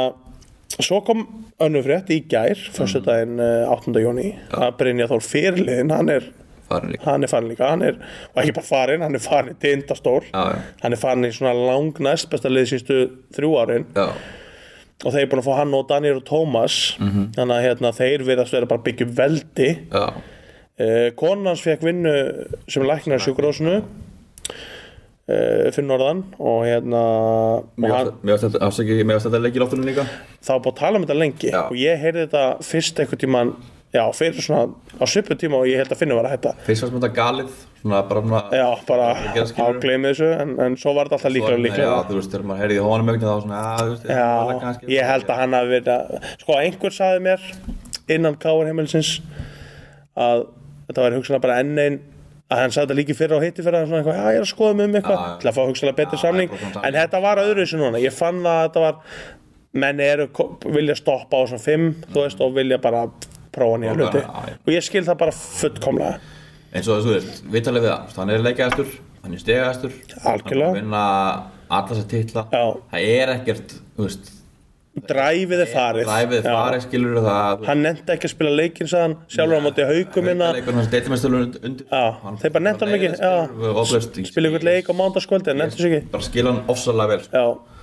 [SPEAKER 2] svo kom önnur frétt í gær,
[SPEAKER 3] Mhm.
[SPEAKER 2] föstudaginn eh, 8. júni að Brynja Þór fyrirliðin, hann er
[SPEAKER 3] farin líka
[SPEAKER 2] hann er farin líka, hann er, og ekki bara farin hann er farin í tindastól
[SPEAKER 3] Já, já.
[SPEAKER 2] hann er farin í svona lang næst besta lið sístu þrjú árin
[SPEAKER 3] Já,
[SPEAKER 2] og þeir eru búin að fá hann og Daniel og Tómas
[SPEAKER 3] Mhm.
[SPEAKER 2] þannig að hérna, þeir verðast vera bara að byggja upp veldi
[SPEAKER 3] já,
[SPEAKER 2] Eh, konan hans fekk vinnu sem læknir á sjúkurásinu uh, fyrir norðan og hérna og
[SPEAKER 3] mér
[SPEAKER 2] hann,
[SPEAKER 3] varst- mér varst þetta afsakið, mér varst þetta leik í loftunum líka
[SPEAKER 2] það var búið að tala um þetta lengi
[SPEAKER 3] Já.
[SPEAKER 2] og ég heyrði þetta fyrst einhvern tíman já, fyrir svona á svipu tíma og ég held að finna var að hætta
[SPEAKER 3] Fyrst varst mér þetta galið, svona bara svona
[SPEAKER 2] já, bara
[SPEAKER 3] Ég gerði skilur.
[SPEAKER 2] ágleymið þessu en, en svo var þetta alltaf líklega og líklega
[SPEAKER 3] Já, þú veist, þegar maður heyrði í honum ekkert þá svona, já, þú veist var það
[SPEAKER 2] Já,
[SPEAKER 3] kannski-
[SPEAKER 2] ég held að hann hafi verið að sko einhver sagði mér innan Káur heimilsins að þetta var hugsanlega bara enn ein að hann sagði þetta líki fyrir á hitti fyrir að hann svona eitthvað, já ég er að skoða mig um eitthvað
[SPEAKER 3] Já, já.
[SPEAKER 2] til að fá hugsanlega betri
[SPEAKER 3] Já,
[SPEAKER 2] samning
[SPEAKER 3] það er bara svona
[SPEAKER 2] en þetta var öðru þessu núna, ég fann það að þetta var menn eru, ko- vilja stoppa á svona fimm, þú veist, og vilja bara prófa nýja
[SPEAKER 3] Mm. Prófa,
[SPEAKER 2] hluti
[SPEAKER 3] já, já.
[SPEAKER 2] og ég skil það bara fullkomlega
[SPEAKER 3] eins og þú veist, við talið við það hann er leikjæðastur, hann er stegæðastur
[SPEAKER 2] Algjörlega.
[SPEAKER 3] hann er búinn að vinna alla sér titla
[SPEAKER 2] Já.
[SPEAKER 3] það er ekkert, þú veist
[SPEAKER 2] dræfið er farið
[SPEAKER 3] dræfið
[SPEAKER 2] Já.
[SPEAKER 3] farið skilur það
[SPEAKER 2] hann nefndi ekki að spila leikinn sagðan sjálfur á móti haukum hérna. innan
[SPEAKER 3] leikur hans deildarmestalun undir
[SPEAKER 2] Já, þeir bara nenntu hann ekki, já. spila einhvern leik á mándaskvöldi, en nefndi þessu ekki
[SPEAKER 3] bara skil hann ofsalega vel sko.
[SPEAKER 2] Já,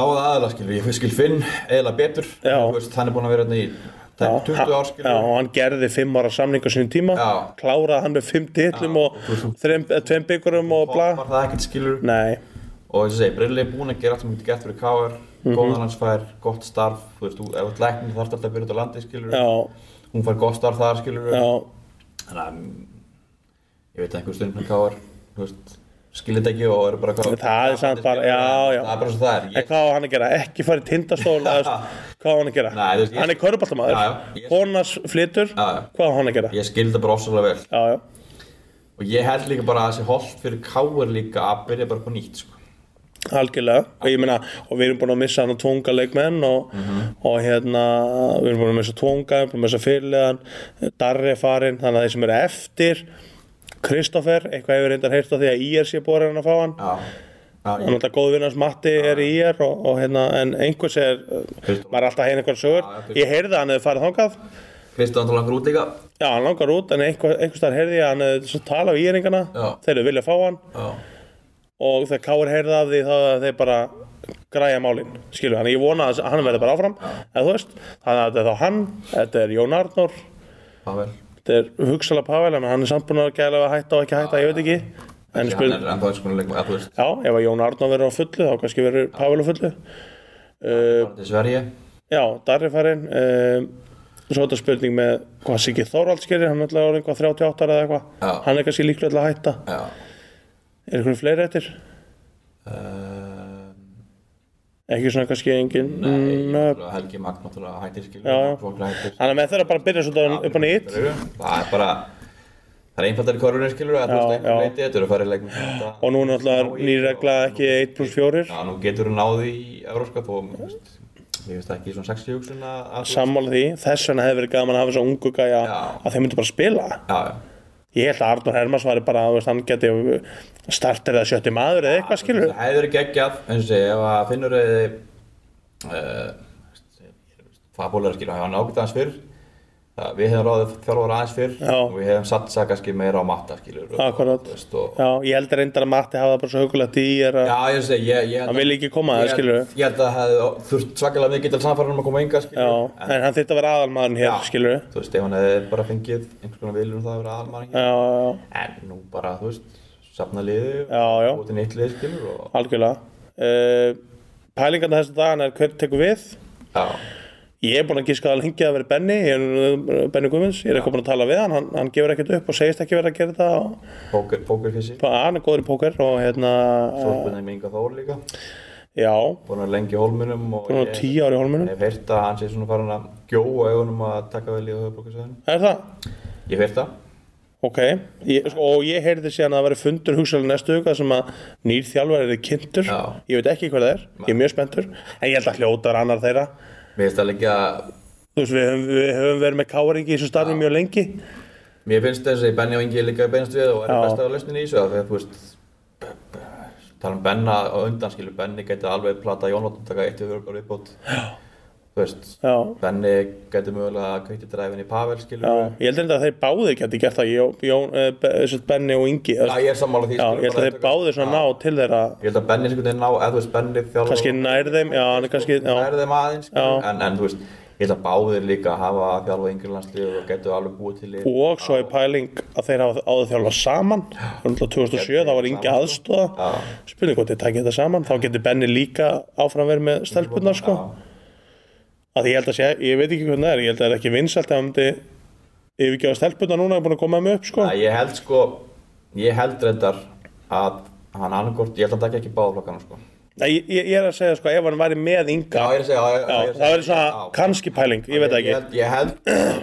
[SPEAKER 3] báða aðeila skilur, ég skil Finn eiginlega betur
[SPEAKER 2] Já.
[SPEAKER 3] Þú veist, hann er búinn að vera hérna í
[SPEAKER 2] já,
[SPEAKER 3] tæp 20 ár
[SPEAKER 2] já,
[SPEAKER 3] skilur
[SPEAKER 2] og hann gerði fimm ára samning á sínum tíma,
[SPEAKER 3] Já.
[SPEAKER 2] kláraði hann með fimm titlum og þrem, eh, tveim byggurum og bla Mm.
[SPEAKER 3] var það ekkert skilur
[SPEAKER 2] Nei,
[SPEAKER 3] og eins og segi, Brilli er búinn að gera allt sem hann getur gert fyrir K.R.
[SPEAKER 2] Mhm.
[SPEAKER 3] góðan hans fær gott starf, þú veist, þú- ef þú læknir þarf alltaf að byrja út á landi, skilur
[SPEAKER 2] já,
[SPEAKER 3] hún fær gott starf þar, skilur
[SPEAKER 2] já,
[SPEAKER 3] þannig að mm, ég veit ekki stundum hvað var, þú veist skilir þetta ekki og eru bara hvað
[SPEAKER 2] Það er samt bara- já, já.
[SPEAKER 3] það er bara svo það er
[SPEAKER 2] en
[SPEAKER 3] ég,
[SPEAKER 2] hvað á hann að gera, ekki fara í tindastól eða, þú veist, hvað á hann að gera,
[SPEAKER 3] Nei, þú veist, ég-
[SPEAKER 2] hann er körubaltamaður
[SPEAKER 3] Já, já, ég-
[SPEAKER 2] konas flytur,
[SPEAKER 3] Já, já.
[SPEAKER 2] hvað á hann að gera
[SPEAKER 3] ég skildi þetta bara ofsalega vel
[SPEAKER 2] já, já,
[SPEAKER 3] og ég held líka bara að það sé holdt fyrir káir líka að byrja bara upp á nýtt sko.
[SPEAKER 2] algjörlega og ég meina, og við erum búin að missa hann tónga leikmenn og, og hérna við erum búin að missa tónga, við erum búin að missa fyrirlegan Darri er farinn, þannig að þeir sem eru eftir Kristoffer, eitthvað hefur reyndar heyrt á því að IR sé búin að reyna að fá hann
[SPEAKER 3] já, já,
[SPEAKER 2] Þannig að góð vinnars Matti er í IR og, og hérna, en einhvers er,
[SPEAKER 3] Kristján.
[SPEAKER 2] maður er alltaf að heyra einhverja sögur.
[SPEAKER 3] Já, já, Kristján.
[SPEAKER 2] Ég heyrði að hann hefði farið þangað,
[SPEAKER 3] Kristján Tólangur út líka
[SPEAKER 2] já, hann langar út, en einhver, einhvers þar heyrði ég að hann hefði svo talað við íringana,
[SPEAKER 3] Já.
[SPEAKER 2] þeir eru vilja fá hann
[SPEAKER 3] já,
[SPEAKER 2] og þegar Káur heyrði af því þá að þeir bara græja málin, skilju, þannig ég vona að hann verði bara áfram, eða þú veist, þannig að þetta er þá hann, þetta er Jón Arnór,
[SPEAKER 3] það vel
[SPEAKER 2] þetta er hugsalega Pavel, en hann er samt búinn að gæla að hætta og ekki hætta, ég veit ekki, en
[SPEAKER 3] hann
[SPEAKER 2] spil,
[SPEAKER 3] er ennþá eins konar leikmaður, eða þú veist
[SPEAKER 2] já, ef að Jón Arnór verður á fullu, þá kannski verður Pavel á fullu.
[SPEAKER 3] bara til Sverige
[SPEAKER 2] Já, Darri farinn um, Svo þetta spurning með hvað Siggi Þóralds gerir, hann er alltaf orðin hvað 38 ára eða
[SPEAKER 3] Já.
[SPEAKER 2] eitthvað Hann er kannski líklega til að hætta
[SPEAKER 3] já
[SPEAKER 2] Er einhvern fleiri eftir?
[SPEAKER 3] uh,
[SPEAKER 2] Ekki svona kannski engin
[SPEAKER 3] nei,
[SPEAKER 2] Nö.
[SPEAKER 3] náttúrulega Helgi Magn náttúrulega hættir skilur
[SPEAKER 2] Já, já.
[SPEAKER 3] Flóknar hættir
[SPEAKER 2] Þannig að með þeirra bara byrja svona upp á nýtt
[SPEAKER 3] það er bara það er einfaldar í korfunni skilur að þú
[SPEAKER 2] Já,
[SPEAKER 3] veist
[SPEAKER 2] já.
[SPEAKER 3] einhver leiti þetta eru að fara í leikmaður þetta.
[SPEAKER 2] Og nú er náttúrulega nýr regla ekki 1 plus 4
[SPEAKER 3] já, nú getur þú náði í Evróska þó þú veist, ég veist ekki svona 60 hugsun að að þú-
[SPEAKER 2] Sammála því, þess vegna hefði verið gaman að hafa þessa ungu gæja
[SPEAKER 3] Já.
[SPEAKER 2] að þeir myndu bara spila
[SPEAKER 3] já, já
[SPEAKER 2] Ég held að Arnur Hermans var bara, þú veist, hann geti startir eða sjötti maður eða eitthvað skilur
[SPEAKER 3] Það hefur ekki ekki að, eins og segja, ef að finnur eða fabúlar skilur, hann ágætt aðeins fyrr það- við hefum ráðið þjálfur aðeins fyrr
[SPEAKER 2] Já.
[SPEAKER 3] og við hefum satsað kannski meira á matta skilur og-
[SPEAKER 2] Akkurat.
[SPEAKER 3] þú veist, og,
[SPEAKER 2] Já, ég held reyndar að Matti hafa það bara svo hugulegt í er að
[SPEAKER 3] Já, ég segi, ég, ég held
[SPEAKER 2] Hann vill ekki koma, það
[SPEAKER 3] ég-
[SPEAKER 2] skilurðu.
[SPEAKER 3] Ég held að það hefði þurft svakalega mikið til samfærum að koma enga, skilur
[SPEAKER 2] Já, en hann þyrfti að vera aðalmaðurinn hér,
[SPEAKER 3] Já.
[SPEAKER 2] skilur við?
[SPEAKER 3] Þú veist, ef hann hefði bara fengið einhvers konar viljum það að vera aðalmann
[SPEAKER 2] Já,
[SPEAKER 3] ja.
[SPEAKER 2] já, já,
[SPEAKER 3] En nú bara, þú veist, safna liði
[SPEAKER 2] Já, já.
[SPEAKER 3] Búti nýtt liði, skilur og,
[SPEAKER 2] algjörlega. Uh, pælingarna þessu dagan er hver tekur við.
[SPEAKER 3] Já,
[SPEAKER 2] Ég er búinn að gíska að lengi að vera Benny, ég er eh, Benny Guðmunds, ég er eitthvað búinn að tala við hann, hann, hann gefur ekkert upp og segist ekki vera að gera þetta. Og,
[SPEAKER 3] póker, pókerfissi
[SPEAKER 2] bara, hann er góður í póker og hérna, eh,
[SPEAKER 3] Þorpunni með Inga Þór líka
[SPEAKER 2] já,
[SPEAKER 3] Búin að vera lengi í hólmunum og
[SPEAKER 2] hann er tíu ári í hólmunum.
[SPEAKER 3] Hef heyrt að hann sé svona farin að gjóa augunum að taka vel í höfubókarsæðinu
[SPEAKER 2] Er það?
[SPEAKER 3] Ég hef heyrt það
[SPEAKER 2] Ok, ég, sko, og ég heyrði síðan að það væri fundur hugsalega næstu huga sem að nýr þjálfari er kynntur,
[SPEAKER 3] Já.
[SPEAKER 2] ég veit ekki hver það er, ég er mjög spenntur, en ég held að hljóta er annar þeirra,
[SPEAKER 3] Mér finnst það líka
[SPEAKER 2] þú veist, við höfum, við höfum verið með káringi í þessu starfi mjög lengi
[SPEAKER 3] Mér finnst þess að Benni og Ingi líka beinast við og er
[SPEAKER 2] Já.
[SPEAKER 3] besta á lausninni í þessu af því að þú veist b- b- tala um Benna og undan skilur Benni gæti alveg plata Jónvotn taka eitt yfir og viðbót þú veist
[SPEAKER 2] já,
[SPEAKER 3] Benni gæti mögulega kveikti dræfin í Pavel skilur
[SPEAKER 2] já, ég held reynda að þeir báðir geti gert það, Jón, Jón, eh, Be- þessi Benni og Ingi
[SPEAKER 3] Já,
[SPEAKER 2] já,
[SPEAKER 3] ég er sammála því
[SPEAKER 2] já,
[SPEAKER 3] skilur,
[SPEAKER 2] ég held
[SPEAKER 3] bara
[SPEAKER 2] að þeir
[SPEAKER 3] þetta-
[SPEAKER 2] báðir svona ná til þeirra
[SPEAKER 3] Ég held að Benni einhvern veginn ná eða þú veist Benni þjálfur
[SPEAKER 2] kannski nær þeim, já, hann er kannski já,
[SPEAKER 3] nær þeim aðeins skilur,
[SPEAKER 2] Já.
[SPEAKER 3] en, en þú veist ég held að báðir líka hafa þjálfa yngri landslið og gætu alveg búið til lið.
[SPEAKER 2] og svo er pæling að þeir hafa áður þjálfa saman Rundlega 2007, þá var Ingi aðstóða
[SPEAKER 3] sko. Já.
[SPEAKER 2] spurning hvort þeir takja þetta saman, þá getur Benni líka áfram verið með stelpunar sko,
[SPEAKER 3] Já.
[SPEAKER 2] að því ég held að sé ég veit ekki hvernig það er, ég held að það er ekki vinsalt ef hann myndi yfirgefa stelpunar núna er búin að koma með upp sko,
[SPEAKER 3] Nei, ég held sko, ég held reyndar að hann annarkort, ég held að hann takk ekki báðflokkana sko.
[SPEAKER 2] Nei, ég, ég er að segja sko, ef hann væri með Inga
[SPEAKER 3] Já, ég er að segja, já, já,
[SPEAKER 2] Já,
[SPEAKER 3] ég er að
[SPEAKER 2] það
[SPEAKER 3] segja-
[SPEAKER 2] verður svona
[SPEAKER 3] já.
[SPEAKER 2] kannski pæling, ég veit það
[SPEAKER 3] Ég
[SPEAKER 2] ekki
[SPEAKER 3] held, ég held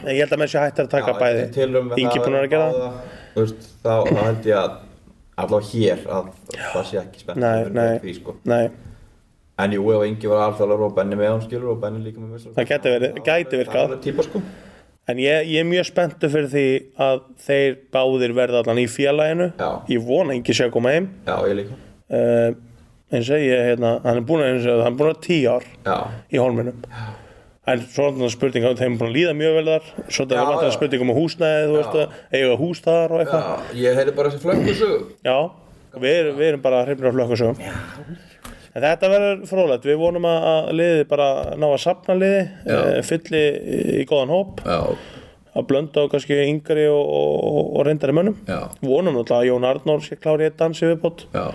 [SPEAKER 2] En ég held að menn sé hættir að taka
[SPEAKER 3] já,
[SPEAKER 2] bæði
[SPEAKER 3] ég tilraun með
[SPEAKER 2] Ingi
[SPEAKER 3] það
[SPEAKER 2] búin að vera að gera það
[SPEAKER 3] báða, Þú veist, þá, þá held ég að allavega hér að það sé ekki spennt
[SPEAKER 2] Nei, nei,
[SPEAKER 3] því, sko.
[SPEAKER 2] nei
[SPEAKER 3] En jú, ef Ingi var alþjóðlega og Benni með hann skilur og Benni líka með mér
[SPEAKER 2] Það gæti verið- gæti virkað.
[SPEAKER 3] Það er típa sko
[SPEAKER 2] En ég, ég er mjög spenntu fyrir því að þeir báðir verða allan í félaginu
[SPEAKER 3] Já.
[SPEAKER 2] Ég vona Ingi sé að koma heim
[SPEAKER 3] Já, ég líka
[SPEAKER 2] uh, eins og ég, hérna, hann er búin að eins og hann er búin að tíu ár
[SPEAKER 3] Já,
[SPEAKER 2] í holminum En svo er náttúrulega spurning að þeim er búin að líða mjög vel þar Svo það
[SPEAKER 3] Já,
[SPEAKER 2] er náttúrulega
[SPEAKER 3] já.
[SPEAKER 2] spurning um húsnæði, þú veist að eiga hús þar og
[SPEAKER 3] já,
[SPEAKER 2] eitthvað
[SPEAKER 3] ég heyri bara þessi flökkusögu
[SPEAKER 2] Já, við erum, við erum bara hrifnir af flökkusögum En þetta verður frólægt, við vonum að að liðið bara ná að safna liði,
[SPEAKER 3] Já.
[SPEAKER 2] eh, fylli í, í góðan hóp,
[SPEAKER 3] Já,
[SPEAKER 2] að blönda og kannski yngri og, og, og reyndari mönnum.
[SPEAKER 3] Já.
[SPEAKER 2] Vonum náttúrulega að Jón Arnór sé klári í eitt dansi viðbót
[SPEAKER 3] já,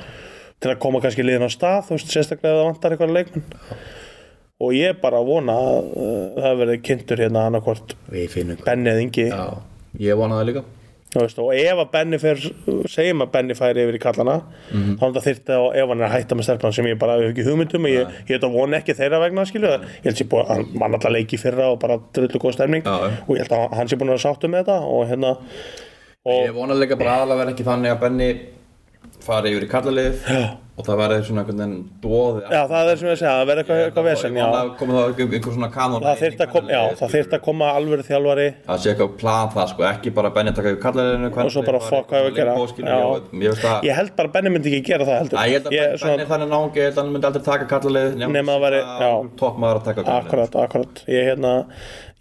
[SPEAKER 2] til að koma kannski liðin á stað, þú veist, sérstaklega ef það vantar eitthvað leikmenn. og ég bara vona að uh, það verði kynntur hérna annarkvort
[SPEAKER 3] Við finnum hvað
[SPEAKER 2] Benni eða Ingi
[SPEAKER 3] Já, ég vona það líka
[SPEAKER 2] Þú veist, og ef að Benni fer segjum að Benni færi yfir í kallana
[SPEAKER 3] Mhm.
[SPEAKER 2] þá er það þyrfti að ef hann er að hætta með stelpan sem ég bara hef ekki hugmyndum og ég, ég þetta vona ekki þeirra vegna skilju ég held sér búin að mann alltaf leiki í fyrra og bara drullu góð stemning
[SPEAKER 3] Já, já.
[SPEAKER 2] og ég held að hann sé búin að vera sáttu með þetta og hérna
[SPEAKER 3] Ég vona líka bara aðalega verði ekki þannig að Benni fari yfir í kallalið og það verði svona einhvern veginn dóði
[SPEAKER 2] já það er sem ég að segja það verði eitthvað, eitthvað vesen já.
[SPEAKER 3] komið þá einhver, einhver svona kanon
[SPEAKER 2] það þyrfti að koma já það þyrfti að koma alvöru þjálfari
[SPEAKER 3] Það sé eitthvað plan það sko, ekki bara Benni taka yfir kallaliðinu
[SPEAKER 2] og svo bara fokk hvað við gera Já.
[SPEAKER 3] Ég veist að
[SPEAKER 2] ég held bara að Benni myndi ekki gera það heldur
[SPEAKER 3] Æ, ég held að
[SPEAKER 2] Ég-
[SPEAKER 3] ég,
[SPEAKER 2] svona-
[SPEAKER 3] Benni er þannig náungi, ég held að hann myndi aldrei taka kallalið
[SPEAKER 2] Nema það væri- já.
[SPEAKER 3] Toppmaður að taka kallalið
[SPEAKER 2] Akkurat, akkurat Ég, hérna,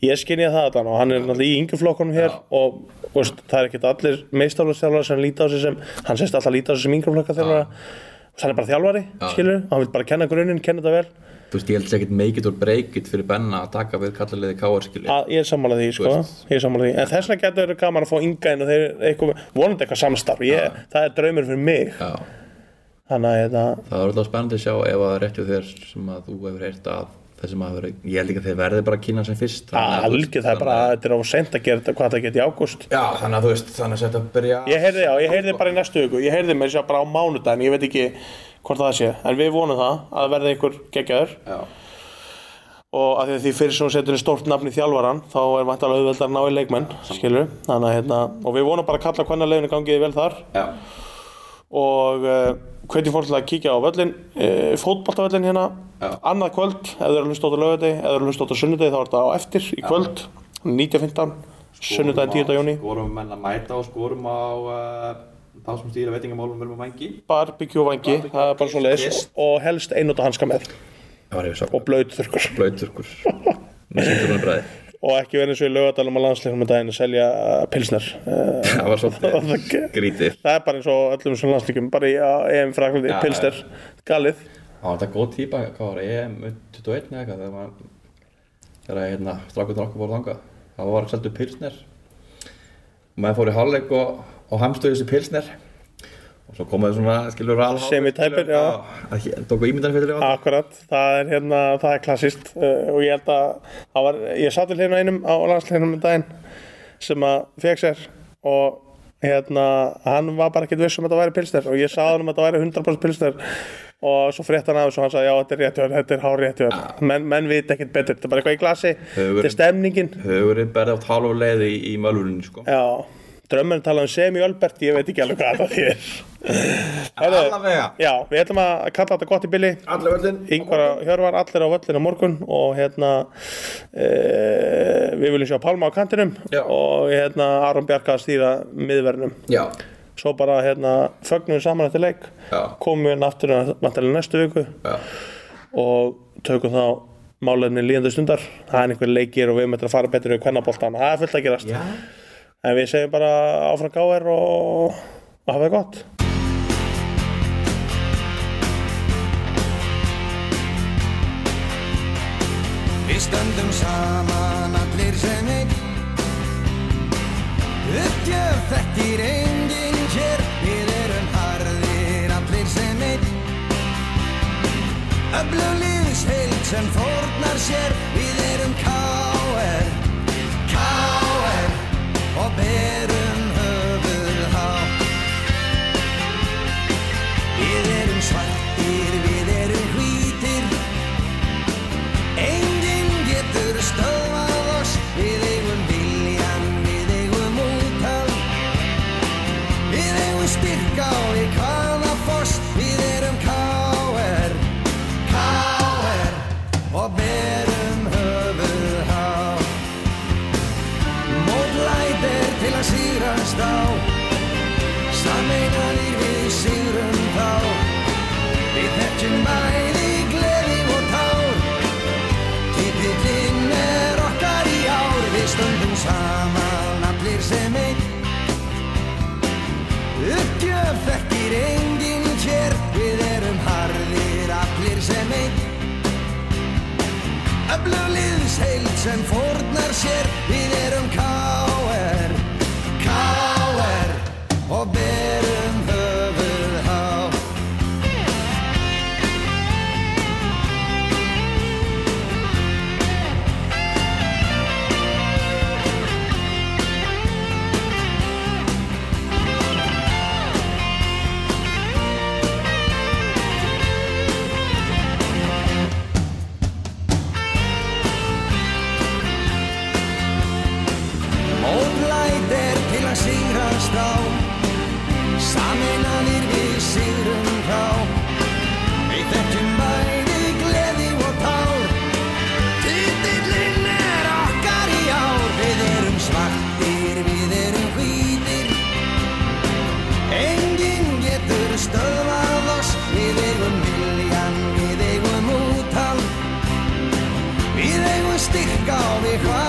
[SPEAKER 2] ég skinja það allan og hann er náttúrulega í yngjuflokkunum hér og veist, það er ekkert allir meistarlóðstjálfara sem líta á sig sem hann sést alltaf líta á sig sem yngjuflokkaþjálfara og hann er bara þjálfari, skilur og hann vil bara kenna grunin, kenna þetta vel
[SPEAKER 3] Þú veist, ég held sér ekkert make it or break it fyrir Benna að taka við kallaliði káar skilja
[SPEAKER 2] að, ég er sammála því, sko ég er sammála því. en þess vegna getur verið gaman að fá ynga inn og þeir eitthvað, vonandi eitthvað samstarf ég, það er draumur fyrir mig
[SPEAKER 3] Já,
[SPEAKER 2] þannig að hérna,
[SPEAKER 3] það er alltaf spennandi að sjá ef að réttju þér sem að þú hefur heyrt að þessi maður, ég held ekki að þeir verði bara að kynna sem fyrst þannig að þú veist,
[SPEAKER 2] algjör Ah, það er bara
[SPEAKER 3] þannig að-
[SPEAKER 2] þetta er á sent að gera þetta hvað það geti í ágúst
[SPEAKER 3] Já, þannig að þú veist, þannig að setja að byrja
[SPEAKER 2] Ég heyrði, já, ég heyrði bara í næstu viku Ég heyrði mér sér bara á mánudaginn, ég veit ekki hvort það sé En við vonum það að það verði einhver geggjaður
[SPEAKER 3] Já.
[SPEAKER 2] Og að því að því fyrir sem hún setur inn stórt nafn í þjálfaran Þá er vantalega auðveldar að ná í leikmenn, skilur Þannig að hérna, og við vonum bara að kalla hvernig leginu gangiði vel þar
[SPEAKER 3] Já,
[SPEAKER 2] Og uh, hvernig fólk til að kíkja á völlin uh, Fótboltavöllin hérna
[SPEAKER 3] Já.
[SPEAKER 2] Annað kvöld, ef þau eru að hlusta út á laugardegi Ef þau eru að hlusta út á sunnudegi þá er þetta á eftir í kvöld 19.15, sunnudaginn 10. júni
[SPEAKER 3] Skorum menn að mæta og skorum á uh, þá sem stýra veitingamálum verðum að mængi
[SPEAKER 2] barbekjúvangi, það er bara svo leiðis
[SPEAKER 3] Kist.
[SPEAKER 2] og helst einnóta hanska með
[SPEAKER 3] Það var ég
[SPEAKER 2] og
[SPEAKER 3] svo
[SPEAKER 2] blöyt þurrkur
[SPEAKER 3] blöyturkur Nú sýndur hún bræði
[SPEAKER 2] og ekki verið eins og í laugadalum á landsleikum með daginn að selja uh, pilsner Eh,
[SPEAKER 3] Það var svolítið
[SPEAKER 2] það
[SPEAKER 3] grítið
[SPEAKER 2] það er bara eins og öllum sem landsleikum bara í uh, EM fraklandi,
[SPEAKER 3] Já,
[SPEAKER 2] pilsner, galið
[SPEAKER 3] Það var þetta góð típa, hvað var E EM 21 eða eitthvað þegar maður þegar að hérna, strákurnar okkur fór þangað það var seldu pilsner og maður fór í hálfleik og, og hamstuði þessi pilsner og svo komaði svona, skilur ræðal
[SPEAKER 2] Semi-tæpir, já.
[SPEAKER 3] Það hé- tóku ímyndan fyrir það
[SPEAKER 2] akkurat, það er hérna það er klassist uh, og ég held að það var, ég satt við hlifna einum á landsleikum með daginn sem að fekk sér og hérna, hann var bara ekkert viss um að þetta væri pilsner og ég sagði hann um að þetta væri 100% pilsner og svo frétt hann aðeins og hann sagði já, þetta er réttjör, þetta er hár réttjör menn, menn vita ekkert betur, þetta er bara eitthvað í glasi
[SPEAKER 3] Hefur-
[SPEAKER 2] þetta er stemningin
[SPEAKER 3] Hugurinn berði átt hálf og leiði í, í mölvurinn sko.
[SPEAKER 2] Já, drömmen tala um Semi Ölbert, ég veit ekki alveg hvað það þýðir. Herðu,
[SPEAKER 3] Allavega.
[SPEAKER 2] Já, við ætlum að kalla þetta gott í billi.
[SPEAKER 3] Allir völdin
[SPEAKER 2] Yngvar og Hjörvar, allir á völlinu á morgun og hérna, e, við viljum sjá Pálma á kantinum
[SPEAKER 3] Já.
[SPEAKER 2] og hérna Aron Bjarka að stýra miðverðinum.
[SPEAKER 3] Já,
[SPEAKER 2] Svo bara hérna fögnum við saman eftir leik,
[SPEAKER 3] Já.
[SPEAKER 2] komum við inn aftur vantarlega næstu viku
[SPEAKER 3] já,
[SPEAKER 2] og tökum þá málefni líðandi stundar. Það er einhver leikir og við möttum að fara betur við kvennaboltan, það er fullt að gerast.
[SPEAKER 3] já.
[SPEAKER 2] En við segjum bara áfram gáir og, og hafa það gott.
[SPEAKER 1] Við stöndum saman allir sem einn Uppgjöf þekkir enginn hér Við erum harðir allir sem einn Öflug lífsheild sem fórnar sér Við erum K.R. K.R. Og berum höfuð hátt Við erum svartir, við erum hvítir Enginn getur stöðvað oss Við eigum viljan, við eigum útal Við eigum styrka og við hvaða foss Við erum K.R. K.R. Og berum höfuð há Mótlæt er til að sírast á Sammeinaðir við sigrum þá Við þekkjum bæði gleði og tár Titillinn er okkar í ár, við stöndum saman allir sem einn. Uppgjöf þekkir enginn hér, við erum harðir allir sem einn. Öflug liðsheild sem fórnar sér, við erum K.R. K.R. og berum höfuð hátt. komumst á Sameinaðir við sigrum þá Við þekkjum bæði gleði og tár Titillinn er okkar í ár Við erum svartir, við erum hvítir Enginn getur stöðvað oss Við eigum viljan, við eigum úthald Við eigum styrk á við hvað